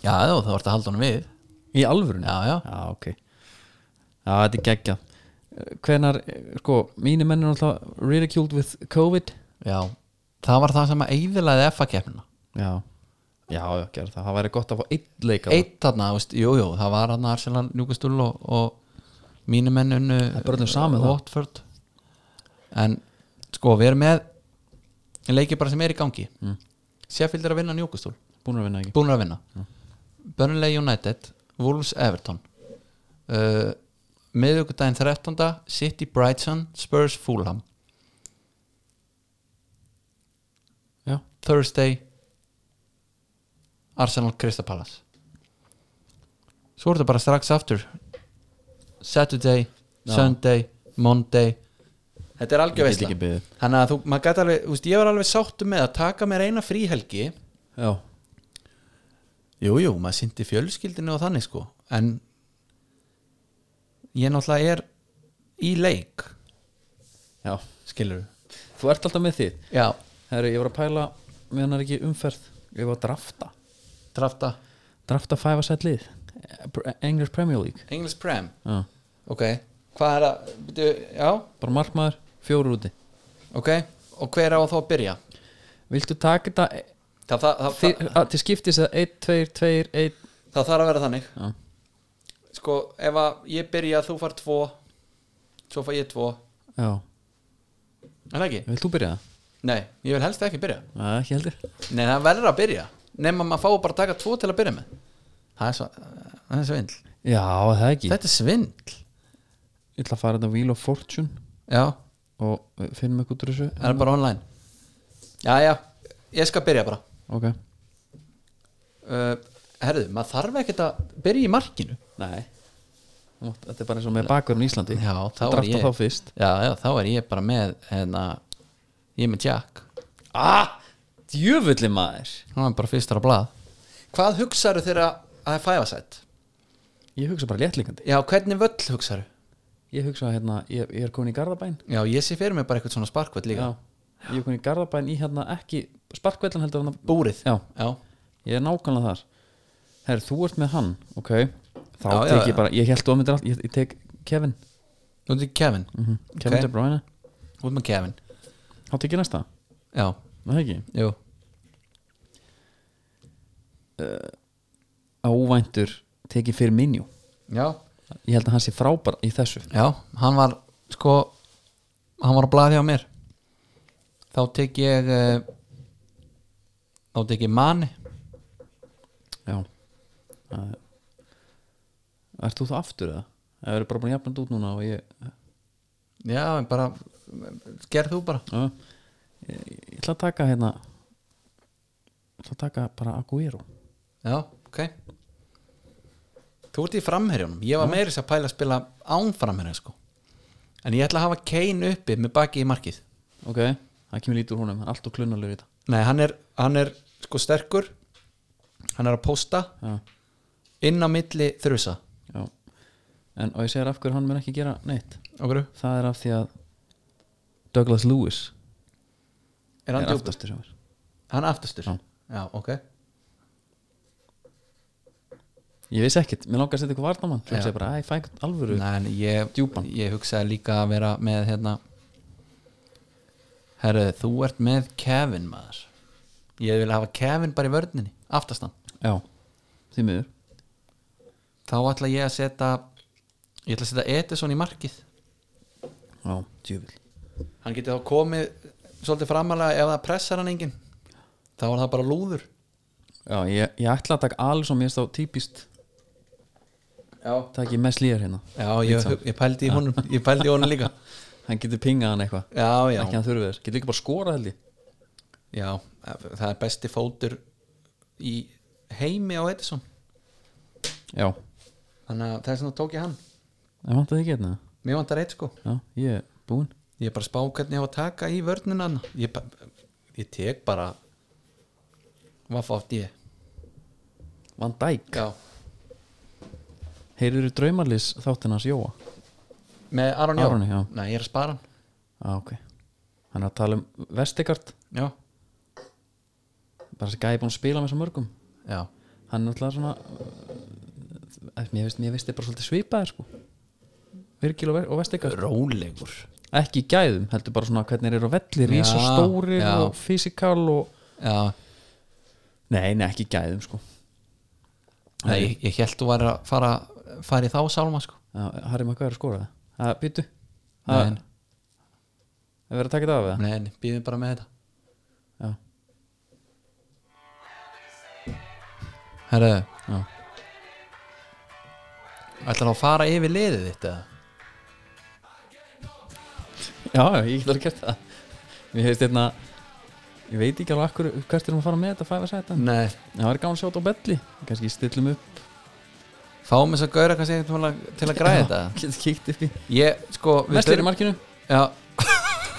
Speaker 2: Já, já, þú vart að halda honum við
Speaker 1: Í alvörunni?
Speaker 2: Já, já,
Speaker 1: Já, ok Já, þetta er geggjað Hvenar, sko, mínir menn er alltaf ridiculed with COVID
Speaker 2: já Það var það sem að eyðilaði FA-keppnina
Speaker 1: Já, já, já, gera það Það væri gott að fá einn leika
Speaker 2: Eitt þarna, þú veist, jú, jú, það var hann Arsenal, Newcastle og, og mínu menn unnu
Speaker 1: Það er bara öllum sama, um það.
Speaker 2: Watford En sko, við erum með leiki bara sem er í gangi mm. Sheffield er að vinna Newcastle
Speaker 1: Búin að vinna ekki
Speaker 2: búin að vinna Burnley United, Wolves Everton uh, miðugudaginn 13. City Brighton, Spurs Fulham
Speaker 1: Já,
Speaker 2: Thursday Arsenal Crystal Palace svo er þetta bara strax aftur Saturday,
Speaker 1: Já.
Speaker 2: Sunday Monday þetta er
Speaker 1: Ég
Speaker 2: algjör
Speaker 1: get
Speaker 2: veistla
Speaker 1: ekki beðið.
Speaker 2: þannig að þú, maður gæti alveg, þú veist, ég var alveg sáttu með að taka mér eina fríhelgi
Speaker 1: já,
Speaker 2: Jú, jú, maður sýndi fjölskyldinu og þannig sko en ég náttúrulega er í leik
Speaker 1: já, skilur þú ert alltaf með þitt
Speaker 2: já,
Speaker 1: Herri, ég var að pæla, meðan er ekki umferð ég var að drafta
Speaker 2: drafta
Speaker 1: drafta 5 set lið Eh, English Premier League
Speaker 2: English Prem,
Speaker 1: já.
Speaker 2: ok hvað er að, byrju, já,
Speaker 1: bara markmaður, fjóru úti
Speaker 2: ok og hver á þá að byrja
Speaker 1: viltu taka þetta eh,
Speaker 2: það, það, það,
Speaker 1: til, að, til skiptis að 1, 2, 2, 1
Speaker 2: það þarf að vera þannig
Speaker 1: Já.
Speaker 2: sko, ef að ég byrja þú far tvo svo far ég tvo,
Speaker 1: já,
Speaker 2: en ekki
Speaker 1: vilt þú byrja það?
Speaker 2: nei, ég vil helst ekki byrja
Speaker 1: Nei, ekki heldur
Speaker 2: nei, það verður að byrja nema maður fái bara að taka tvo til að byrja með það er, svo, það er svindl
Speaker 1: já, það er ekki
Speaker 2: þetta er svindl
Speaker 1: ég ætla að fara þetta Wheel of Fortune
Speaker 2: já,
Speaker 1: og við finnum eitthvað út úr þessu
Speaker 2: það er bara online já, já, ég skal byrja bara
Speaker 1: ok,
Speaker 2: uh, herðu, maður þarf ekkert að byrja í markinu
Speaker 1: nei Þú mátt- þetta er bara eins og með bakverðin í Íslandi
Speaker 2: Já, þá
Speaker 1: Þú
Speaker 2: er
Speaker 1: draftar
Speaker 2: ég.
Speaker 1: þá fyrst
Speaker 2: já, já, þá er ég bara með hérna, ég er með Jack
Speaker 1: ah, djöfulli maður
Speaker 2: hann er bara fyrstur á blað hvað hugsaðu þegar að það er fæfasætt?
Speaker 1: ég hugsa bara léttlingandi
Speaker 2: já, hvernig völl hugsaðu?
Speaker 1: ég hugsa hérna, ég, ég er komin í Garðabæn
Speaker 2: já, ég sé fyrir mig bara eitthvað svona sparkvöll líka
Speaker 1: já, ég er komin í Garðabæn í hérna ekki sparkvellan heldur hann
Speaker 2: búrið
Speaker 1: já,
Speaker 2: já,
Speaker 1: ég er nákvæmlega þar herri, þú ert með hann, ok þá
Speaker 2: Já, já,
Speaker 1: tek
Speaker 2: já.
Speaker 1: ég bara, ég held þú að myndir allt ég, ég tek Kevin,
Speaker 2: þú ert með Mhm. Kevin
Speaker 1: mm Kevin
Speaker 2: Ok.
Speaker 1: De Bruyne
Speaker 2: þú ert með Kevin
Speaker 1: þá tek ég næsta,
Speaker 2: já,
Speaker 1: Nei, það ekki
Speaker 2: jú
Speaker 1: óvæntur tek ég fyrir minjú
Speaker 2: já,
Speaker 1: ég held að hann sé frábær í þessu
Speaker 2: já, hann var sko hann var á blaði á mér þá tek ég eh, þá tek ég manni
Speaker 1: já Það er- ert þú þá aftur eða? það verður bara búin jafnand út núna og ég
Speaker 2: já, en bara gerð þú bara
Speaker 1: Já, ég, ég ætla að taka hérna ég ætla að taka bara Aguero
Speaker 2: já, ok þú ert í framherjunum ég var meiri þess að pæla að spila án framherjun sko. en ég ætla að hafa Kane uppi með baki í markið
Speaker 1: ok, það kemur lítur húnum, hann er allt og klunnalur í þetta
Speaker 2: nei, hann er, hann er sko sterkur hann er að posta
Speaker 1: já,
Speaker 2: inn á milli þrjusa
Speaker 1: já en og ég segir af hverju hann mun ekki gera neitt
Speaker 2: okkur,
Speaker 1: það er af því að Douglas Lewis
Speaker 2: er hann
Speaker 1: er
Speaker 2: djúpur?
Speaker 1: aftastur sem er
Speaker 2: hann er aftastur
Speaker 1: Já.
Speaker 2: já, ok
Speaker 1: ég veist ekkit, mér langar að setja eitthvað varnamann svo
Speaker 2: Já.
Speaker 1: segir bara, æ, fæ eitthvað alvöru
Speaker 2: Nei, en ég,
Speaker 1: Djúpan.
Speaker 2: ég hugsaði líka að vera með hérna herru, þú ert með Kevin maður ég vil hafa Kevin bara í vörninni aftastan
Speaker 1: já, því miður
Speaker 2: þá ætla ég að setja ég ætla að setja Edison í markið
Speaker 1: já, djúvill
Speaker 2: hann geti þá komið svolítið framalega ef það pressar hann enginn þá er það bara lúður
Speaker 1: já, ég, ég ætla að taka alls og mér stá típist
Speaker 2: já,
Speaker 1: takk ég mest lýjar hérna
Speaker 2: já ég, ég pældi í honum ég pældi í honum
Speaker 1: (laughs)
Speaker 2: líka
Speaker 1: hann getur pingað hann eitthvað
Speaker 2: já, já,
Speaker 1: ekki hann þurfið þess, getur líka bara skora held ég
Speaker 2: já það er besti fótur í heimi á Edison
Speaker 1: já,
Speaker 2: þannig að þess vegna tók ég hann
Speaker 1: Það vantaði ekki hérna
Speaker 2: mér vantar eitt sko
Speaker 1: Já, ég er búinn
Speaker 2: ég er bara að spá hvernig ég á að taka í vörnina þarna. ég, ba- ég tek bara vaff átt ég
Speaker 1: Van Dijk
Speaker 2: já.
Speaker 1: Heyrður draumarlis þáttinn hans Jóa
Speaker 2: með Aron Jó
Speaker 1: Aroni, já.
Speaker 2: Nei, ég er að spara hann
Speaker 1: Já, ok Hann er að tala um Vestegard
Speaker 2: já,
Speaker 1: Bara þessi gæði búinn að spila með svo mörgum
Speaker 2: já,
Speaker 1: Hann er alltaf svona uh, Mér veist, mér veist er bara svolítið svipaðir sko Virgil og, Ve- og Vestegard
Speaker 2: rólegur
Speaker 1: Ekki í gæðum, heldur bara svona hvernig þeir eru á velli Rís og
Speaker 2: Já,
Speaker 1: stórir
Speaker 2: já.
Speaker 1: og fysikal og
Speaker 2: já,
Speaker 1: Nei, nei, ekki í gæðum sko
Speaker 2: Nei, ég, ég held þú var að fara, fara í þá sálma sko
Speaker 1: Já, Harry Maguire skoraði Það býtu Það
Speaker 2: Nei,
Speaker 1: er verið að taka þetta af það
Speaker 2: nei, nei, býðum bara með þetta
Speaker 1: Já,
Speaker 2: herru,
Speaker 1: já
Speaker 2: ætlar þú að fara yfir liðið þitt eða?
Speaker 1: Já, já, ég get alveg gert það Mér hefðist hérna Ég veit ekki alveg akkur hvert er hún að fara með þetta fæfa sæta en
Speaker 2: nei,
Speaker 1: Það er gaman að sjá þetta á belli Kannski stillum upp
Speaker 2: fáum þess að gauðra kannski einhvern tímann til að græða þetta
Speaker 1: Getur kíkt upp í
Speaker 2: ég, sko, við
Speaker 1: Mestir í
Speaker 2: þurfum-
Speaker 1: markinu
Speaker 2: já,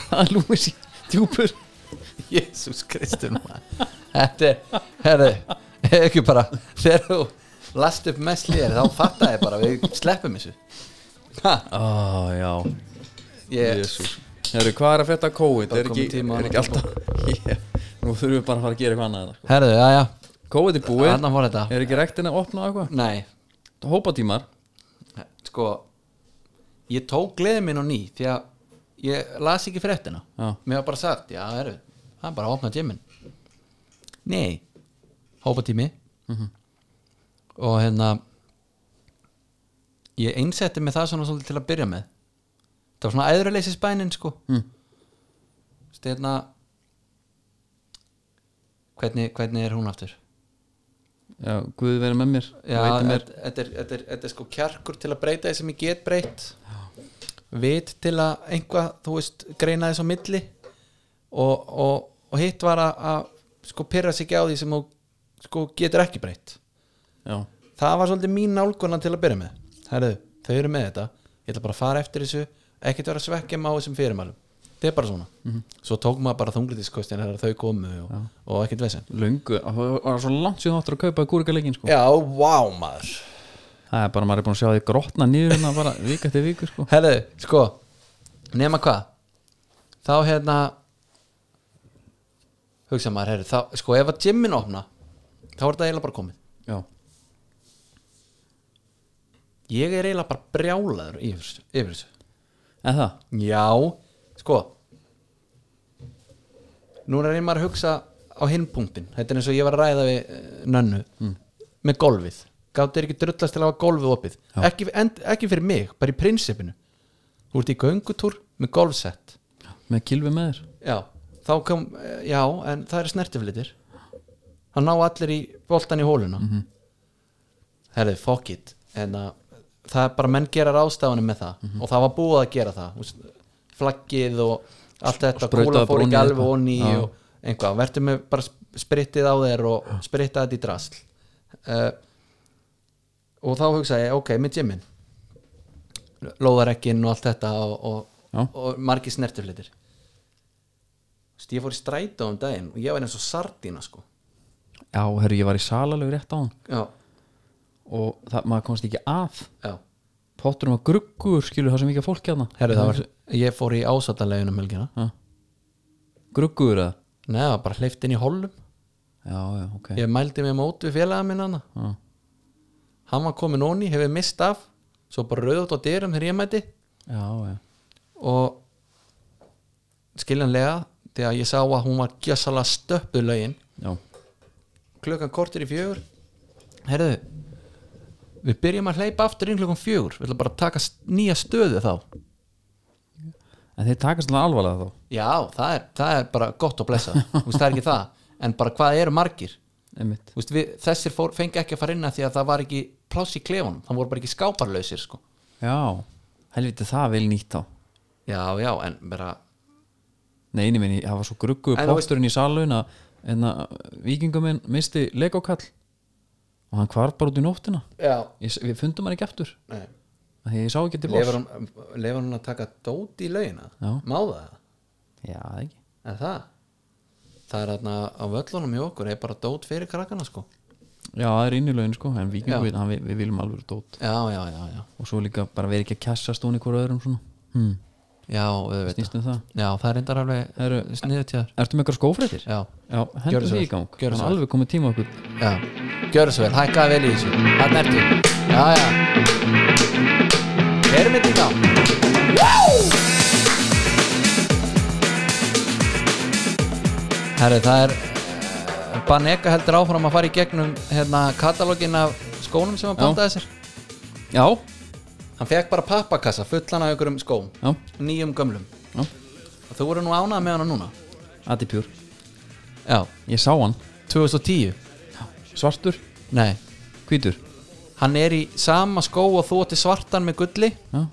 Speaker 1: Það er lúmis í djúpur
Speaker 2: (laughs) Jésús Kristur maður. Þetta er, herðu ekki bara, þegar þú last upp mest liðir þá fatta ég bara, við sleppum þessu
Speaker 1: ah, já,
Speaker 2: ég,
Speaker 1: jésús Herru, hvað er að frétta af COVID?
Speaker 2: Það
Speaker 1: Er ekki,
Speaker 2: komið tíma
Speaker 1: er ekki alltaf (laughs) yeah. Nú þurfum við bara að fara að gera eitthvað annað hérna.
Speaker 2: herðu, já, já
Speaker 1: COVID er búið,
Speaker 2: Þarna fór þetta.
Speaker 1: er ekki rektin að opna og eitthvað?
Speaker 2: nei,
Speaker 1: Hópatímar,
Speaker 2: sko ég tók gleði minn og ný því að ég las ekki fréttina
Speaker 1: Já.
Speaker 2: mér var bara sagt, já, herru það er bara að opna gymmin nei, hópa tími og hérna ég einsetti með það svona svolítið til að byrja með það var svona æðruleysi spænin sko
Speaker 1: Mm.
Speaker 2: stefna hvernig, hvernig er hún aftur
Speaker 1: já, Guð verið með mér
Speaker 2: Já,
Speaker 1: Veiti mér
Speaker 2: þetta þetta er, þetta er, þetta er sko kjarkur til að breyta því sem ég get breytt vit til að einhvað, þú veist, greina þess á milli og, og, og hitt var að, að sko pyrra sig ekki á því sem þú sko getur ekki breytt
Speaker 1: Já,
Speaker 2: það var svolítið mín nálguna til að byrja með Herðu, þau eru með þetta ég ætla bara að fara eftir þessu ekkert vera að svekkja mig á þessum fyrirmælum þetta er bara svona, svo tók maður bara þunglitiskostin þegar þau komu og, og ekkert veginn
Speaker 1: löngu, það var svo langt síðan áttur að kaupa kúrikalegin sko
Speaker 2: Já, vá maður
Speaker 1: Það er bara, maður er búin að sjá því grotna nýður hérna bara vik eftir viku sko
Speaker 2: Herðu, sko nema hvað þá hérna hugsa maður, herðu, þá, sko ef að gymmin opna, þá er þetta eiginlega bara komið
Speaker 1: Já,
Speaker 2: ég er eiginlega bara brjálaður yfir, þessu- yfir þessu
Speaker 1: en það,
Speaker 2: já, sko núna reynir maður að hugsa á hinn punktin, þetta er eins og ég var að ræða við eh, nönnu, með golfið gáttu er ekki drullast til að hafa golfið opið ekki, en, ekki fyrir mig, bara í prinsipinu þú ert í göngutúr með golfsett
Speaker 1: með kylfi með þér
Speaker 2: Já, þá kom eh, Já, en það er snertiflitir Það ná allir í boltan í hóluna
Speaker 1: Mhm.
Speaker 2: mm -hmm. Herði, fuck it En að það er bara menn gera ráðstafunum með það
Speaker 1: Mhm.
Speaker 2: og það var búið að gera það Þú veist, flaggið og allt þetta
Speaker 1: sprautaði
Speaker 2: kúla fór
Speaker 1: brúnni
Speaker 2: ekki alveg
Speaker 1: eitthvað.
Speaker 2: onni
Speaker 1: Já.
Speaker 2: og einhvað, verður með bara sp- spryttið á þér og sprytta þetta í drasl uh, og þá hugsaði ég, ok, með gymmin lóðarekkin og allt þetta og,
Speaker 1: Já.
Speaker 2: og, og margir snertiflitir Vist, ég fór í strætó um daginn og ég var eins og sardína sko
Speaker 1: Já, herru, ég var í salalegu rétt á hann
Speaker 2: já,
Speaker 1: og það, maður komst ekki að
Speaker 2: já
Speaker 1: Potturum að gruggur, skilur það sem ekki að fólk hérna
Speaker 2: Herri, það var, ég fór í um ásataleginu melgina
Speaker 1: var Gruggur eða?
Speaker 2: Nei, það var bara hleyft inn í holum
Speaker 1: Já, já, ok
Speaker 2: Ég mældi mig mót við félaga minn hana
Speaker 1: Já.
Speaker 2: Hann var komin onni, hefur mist af Svo bara rauðótt á dyrum þegar ég mæti
Speaker 1: Já, já,
Speaker 2: Og skiljanlega Þegar ég sá að hún var gjössalega stöppu lögin
Speaker 1: já,
Speaker 2: Klukkan kortir í fjögur Herðu Við byrjum að hleypa aftur inn klukkan fjögur Við ætlum bara að taka s- nýja stöðu þá
Speaker 1: En þeir takast alveg alvarlega þá
Speaker 2: Já, það er, það er bara gott að blessa veist, það er ekki það, en bara hvað eru margir
Speaker 1: Einmitt.
Speaker 2: veist, við, þessir fór, fengi ekki að fara inn að því að það var ekki pláss í klefunum, það voru bara ekki skáparlausir sko.
Speaker 1: Já, helviti það vil nýtt þá
Speaker 2: Já, já, en bara
Speaker 1: Nei, einu minni, það var svo gruggu
Speaker 2: En þú veist-
Speaker 1: potturinn í salun að en að vikinguminn misti legokall og hann hvarf bara út í nóttina
Speaker 2: Já,
Speaker 1: ég, s- við fundum hann ekki aftur
Speaker 2: nei
Speaker 1: af því að ég sá ekki til boss
Speaker 2: Leifar hún, leifar hún að taka dót í laugina
Speaker 1: Já.
Speaker 2: Máða það,
Speaker 1: Já, það ekki
Speaker 2: er það Það er þarna á völlunum í okkur er bara dót fyrir krakkana sko
Speaker 1: Já, það er inn í laun sko, en
Speaker 2: Já.
Speaker 1: vikingu hann, við, við viljum alveg dót
Speaker 2: Já, já, já, já
Speaker 1: og svo líka bara verið ekki að kessast hún í hverju öðrum svona hmm.
Speaker 2: Já, auðvitað
Speaker 1: snýstum það
Speaker 2: Já, það er reyndar alveg
Speaker 1: Heru,
Speaker 2: sniðu til þér
Speaker 1: Ertu með eitthvað skófréttir?
Speaker 2: Já,
Speaker 1: Já, hendur
Speaker 2: Gjörðu
Speaker 1: því
Speaker 2: svo vel.
Speaker 1: í gang
Speaker 2: Gjörðu
Speaker 1: Það er
Speaker 2: svo vel.
Speaker 1: alveg komið tíma okkur
Speaker 2: Já, gjör svo vel, hækkaði vel í þessu Hann ertu Já, já Erum við þetta Herri, það er eh, Baneka heldur áfram að fara í gegnum hérna katalógin af skónum sem hann
Speaker 1: Já.
Speaker 2: pantaði sér
Speaker 1: Já,
Speaker 2: Hann fekk bara pappakassa fullan af ykkur um skóm
Speaker 1: já,
Speaker 2: Nýjum gömlum
Speaker 1: já
Speaker 2: Og Þú voru nú ánað með hana núna
Speaker 1: Adi Pjúr,
Speaker 2: Já,
Speaker 1: ég sá hann
Speaker 2: 2010
Speaker 1: Svartur,
Speaker 2: Nei,
Speaker 1: hvítur
Speaker 2: hann er í sama skó og þú átti svartan með gulli
Speaker 1: Já,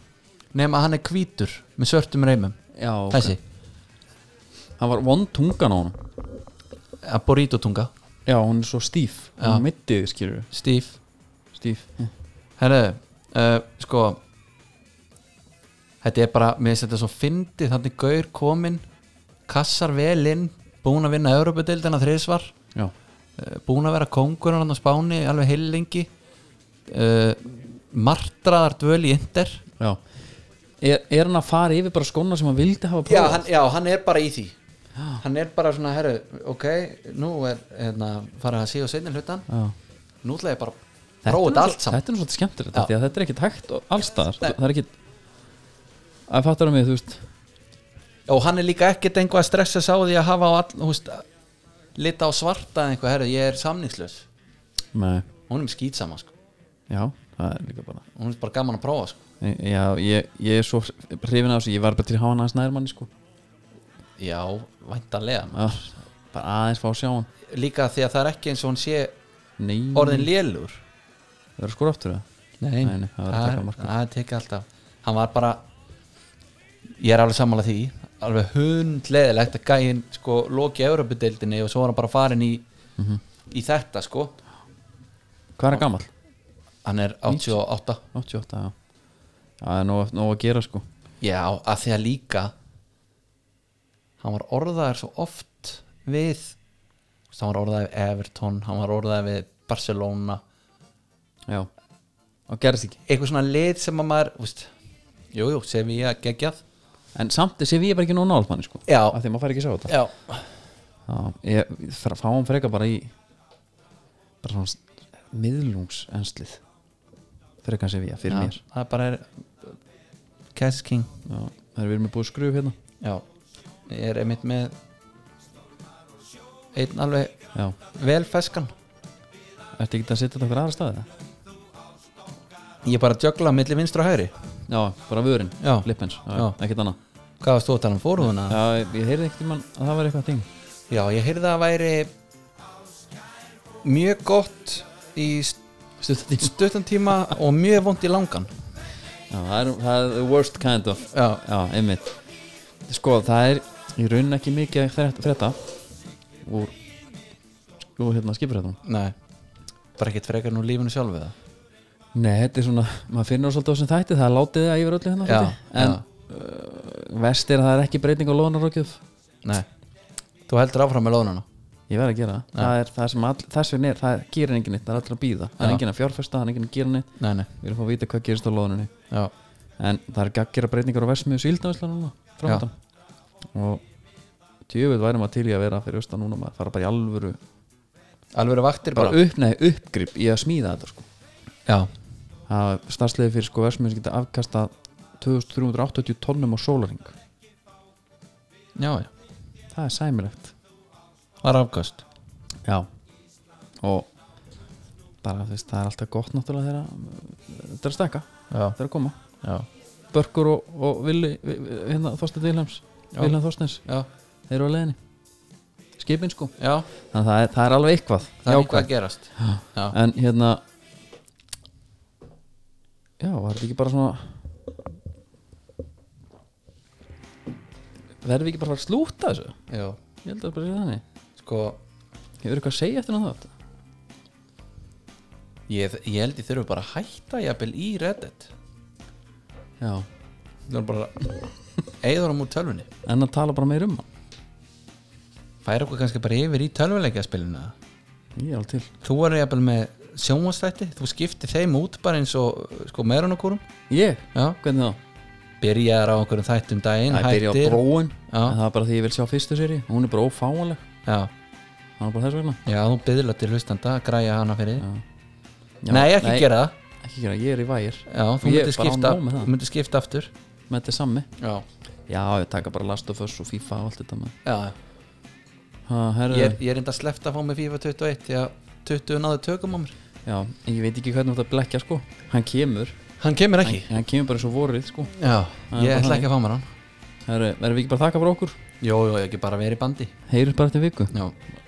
Speaker 2: nema hann er hvítur með svörtum reymum
Speaker 1: já ok.
Speaker 2: þessi,
Speaker 1: Hann var vond tungan á honum
Speaker 2: að borítotunga
Speaker 1: Já, hún er svo stíf
Speaker 2: Já.
Speaker 1: Hún mittið, skilur
Speaker 2: Steve,
Speaker 1: Stíf
Speaker 2: herru uh, sko þetta er bara, mér finnst þetta svo fyndið þannig gaur komin kassar vel inn, búin að vinna Europadeildina þriðsvar,
Speaker 1: Já,
Speaker 2: uh, búin að vera kóngurinn hann á Spáni, alveg heilengi uh, eh, martraðar dvöl í Inder
Speaker 1: já. Er, er hann að fara yfir bara skóna sem hann vildi hafa
Speaker 2: já
Speaker 1: prófað
Speaker 2: hann, já, hann er bara í því Hann er bara svona, herru, ok Nú er, hérna, fara að sé og seinni hlutan
Speaker 1: Já.
Speaker 2: Nú ætla ég bara að
Speaker 1: Þetta er
Speaker 2: prófa þetta
Speaker 1: nú
Speaker 2: allt
Speaker 1: svo-
Speaker 2: saman
Speaker 1: Þetta er nú svolítið skemmtilegt
Speaker 2: Já.
Speaker 1: af því að Þetta er ekkit hægt og allstaðar
Speaker 2: Nei.
Speaker 1: Það er ekkit að fattar hann mig, þú veist
Speaker 2: Og hann er líka ekkert einhvað að stressa sá því að hafa á all, húst, lita á svarta eða einhvað, herru, ég er samningslaus
Speaker 1: Nei,
Speaker 2: Hún er skýt saman, sko
Speaker 1: já, það er líka bara
Speaker 2: Hún er bara gaman að prófa, sko
Speaker 1: Ég- Já, ég, ég er svo hrifin af þessu Ég var bara til að hafa hann aðeins nærmanni sko
Speaker 2: Já, væntanlega
Speaker 1: já. Bara aðeins fá að sjá hann
Speaker 2: Líka því að það er ekki eins og hún sé
Speaker 1: Nei,
Speaker 2: orðin lélur
Speaker 1: það er skor aftur það
Speaker 2: Nei,
Speaker 1: Mm. Nei, nei, það var að taka mark á.
Speaker 2: það er tekið alltaf Hann var bara Ég er alveg sammála því Alveg hundleðilegt að gæin sko loki Európa-deildinni og svo var hann bara farin í
Speaker 1: Mhm.
Speaker 2: í þetta sko
Speaker 1: Hvað er gamall?
Speaker 2: Hann er 88
Speaker 1: 88, já Já, það er nóg, nóg að gera sko
Speaker 2: Já, að því að líka Hann var orðaður svo oft við þú veist, Hann var orðaður við Everton Hann var orðaður við Barcelona
Speaker 1: Já, og gerðist ekki
Speaker 2: Eitthvað svona lið sem að maður þú veist, Jú, jú, sem ég geggjað
Speaker 1: En samt sé við bara ekki nóg nálmanni sko
Speaker 2: Já.
Speaker 1: Af því að maður fær ekki að sjá þetta
Speaker 2: Já,
Speaker 1: Já, ég fer- fá hann freka bara í bara svona s- miðlungsenslið freka sem við fyrir
Speaker 2: Já,
Speaker 1: mér
Speaker 2: það er bara er Cass King
Speaker 1: Já, það er við erum með búið skruf hérna
Speaker 2: já, ég er einmitt með einn alveg
Speaker 1: Já,
Speaker 2: vel feskan
Speaker 1: ertu ekki að setja þetta okkur aðra staði? eða?
Speaker 2: ég er bara að jökla milli vinstra og hægri
Speaker 1: Já, bara vörin,
Speaker 2: Já.
Speaker 1: lippens,
Speaker 2: Já.
Speaker 1: ekkert annað
Speaker 2: hvað varst þú að tala um fórhúðuna?
Speaker 1: Já, ég- ég heyrði ekkert um hann að það var eitthvað ting
Speaker 2: já, ég heyrði að það væri mjög gott í
Speaker 1: Stuttan tím
Speaker 2: stuttan tíma og mjög vond í langan
Speaker 1: Já, það er, það er the worst kind of
Speaker 2: já,
Speaker 1: Já, einmitt Sko, það er í raun ekki mikið að frétta úr úr hérna skipurhættunum
Speaker 2: nei bara ekkert frekar nú lífinu sjálfu það
Speaker 1: Nei, þetta er svona, maður finnur svolítið á þessum þætti það er látið það yfir öllu hérna
Speaker 2: Já,
Speaker 1: svolítið. en
Speaker 2: já.
Speaker 1: uh, vest er að það er ekki breyting á lónarókjöf
Speaker 2: nei, þú heldur áfram með lónuna
Speaker 1: ég verð að gera það, það er það sem all, þess vegna er, það gerir enginn neitt, það er allir að býða það er
Speaker 2: Já.
Speaker 1: enginn að fjárfesta, það er enginn að gera neitt
Speaker 2: nei, nei,
Speaker 1: við erum að fá að vita hvað gerist á lónunni
Speaker 2: já,
Speaker 1: en það er gaggjara breytingar á vestmiðu síldavæsla núna framöndan og tjöfuð væri maður til í að vera fyrir austan núna maður fara bara í alvöru
Speaker 2: alveg eru vaktir
Speaker 1: bara
Speaker 2: bara,
Speaker 1: upp, nei, uppgrip í að smíða þetta sko.
Speaker 2: já,
Speaker 1: það er starfsliði fyrir sko vestmiðu sem geta afkasta 2380 tonnum á sólaring
Speaker 2: já, já
Speaker 1: það er sæmilegt
Speaker 2: það er afkast
Speaker 1: Já Og bara þú veist, það er alltaf gott náttúrulega þegar uh, þetta er að stekka,
Speaker 2: já,
Speaker 1: þegar að koma
Speaker 2: já,
Speaker 1: Börkur og, og Vili, Vi- Vi- hérna Þorstein Vilhjáms
Speaker 2: Já.
Speaker 1: Vilhján Þorsteins,
Speaker 2: já,
Speaker 1: þeir eru á leiðinni Skipin sko,
Speaker 2: já
Speaker 1: þannig að það er, það er alveg eitthvað
Speaker 2: það er eitthvað
Speaker 1: jákvætt.
Speaker 2: að gerast já.
Speaker 1: En hérna Já, var þetta ekki bara svona Verðum við ekki bara að fara að slúta þessu?
Speaker 2: Já.
Speaker 1: Ég held að það bara sé þannig
Speaker 2: sko
Speaker 1: Hefur eitthvað að segja eftir um náttúrulega þetta?
Speaker 2: ég, ég held ég þurfi bara að hætta jafnvel í Reddit
Speaker 1: Já,
Speaker 2: það er bara eigður hann úr tölvunni
Speaker 1: en að tala bara meir um hann
Speaker 2: færa okkur kannski bara yfir í tölvuleikjaspilina
Speaker 1: Ég er alveg til
Speaker 2: þú er jafnvel með sjónvastætti þú skiptir þeim út bara eins og sko meirun okkur
Speaker 1: Ég?
Speaker 2: já,
Speaker 1: Hvernig þá?
Speaker 2: byrjar á okkur þættum daginn
Speaker 1: Það byrja á
Speaker 2: hættir
Speaker 1: bróin
Speaker 2: Já.
Speaker 1: En það er bara því ég vil sjá fyrstu séri Hún er bara ófáanleg
Speaker 2: já,
Speaker 1: Það er bara þess vegna
Speaker 2: já, þú byrðlar til hlustanda að græja hana fyrir
Speaker 1: Já. Já,
Speaker 2: nei, ekki gera það
Speaker 1: Ekki gera, ég er í vægir
Speaker 2: já, þú
Speaker 1: Ég er
Speaker 2: myndir
Speaker 1: bara á
Speaker 2: skipta,
Speaker 1: nóg með það.
Speaker 2: þú myndir skipta aftur
Speaker 1: Með þetta sammi
Speaker 2: já,
Speaker 1: Já, ég taka bara Last of Us og FIFA og allt þetta með
Speaker 2: já,
Speaker 1: ha, herru,
Speaker 2: ég er, ég er enda sleppt að fá mig FIFA 21 því að 20 náðu tökum á mér
Speaker 1: Já, ég veit ekki hvernig þetta blekja sko Hann kemur
Speaker 2: hann kemur
Speaker 1: Hann,
Speaker 2: ekki
Speaker 1: hann kemur bara eins og vorið sko
Speaker 2: já,
Speaker 1: Það er bara
Speaker 2: ég ætla
Speaker 1: þannig.
Speaker 2: ekki að fá mér hann
Speaker 1: Herru, verðum við ekki bara að þakka fyrir okkur
Speaker 2: jú, jú, ekki bara verið í bandi
Speaker 1: Heyrið bara eftir viku
Speaker 2: já,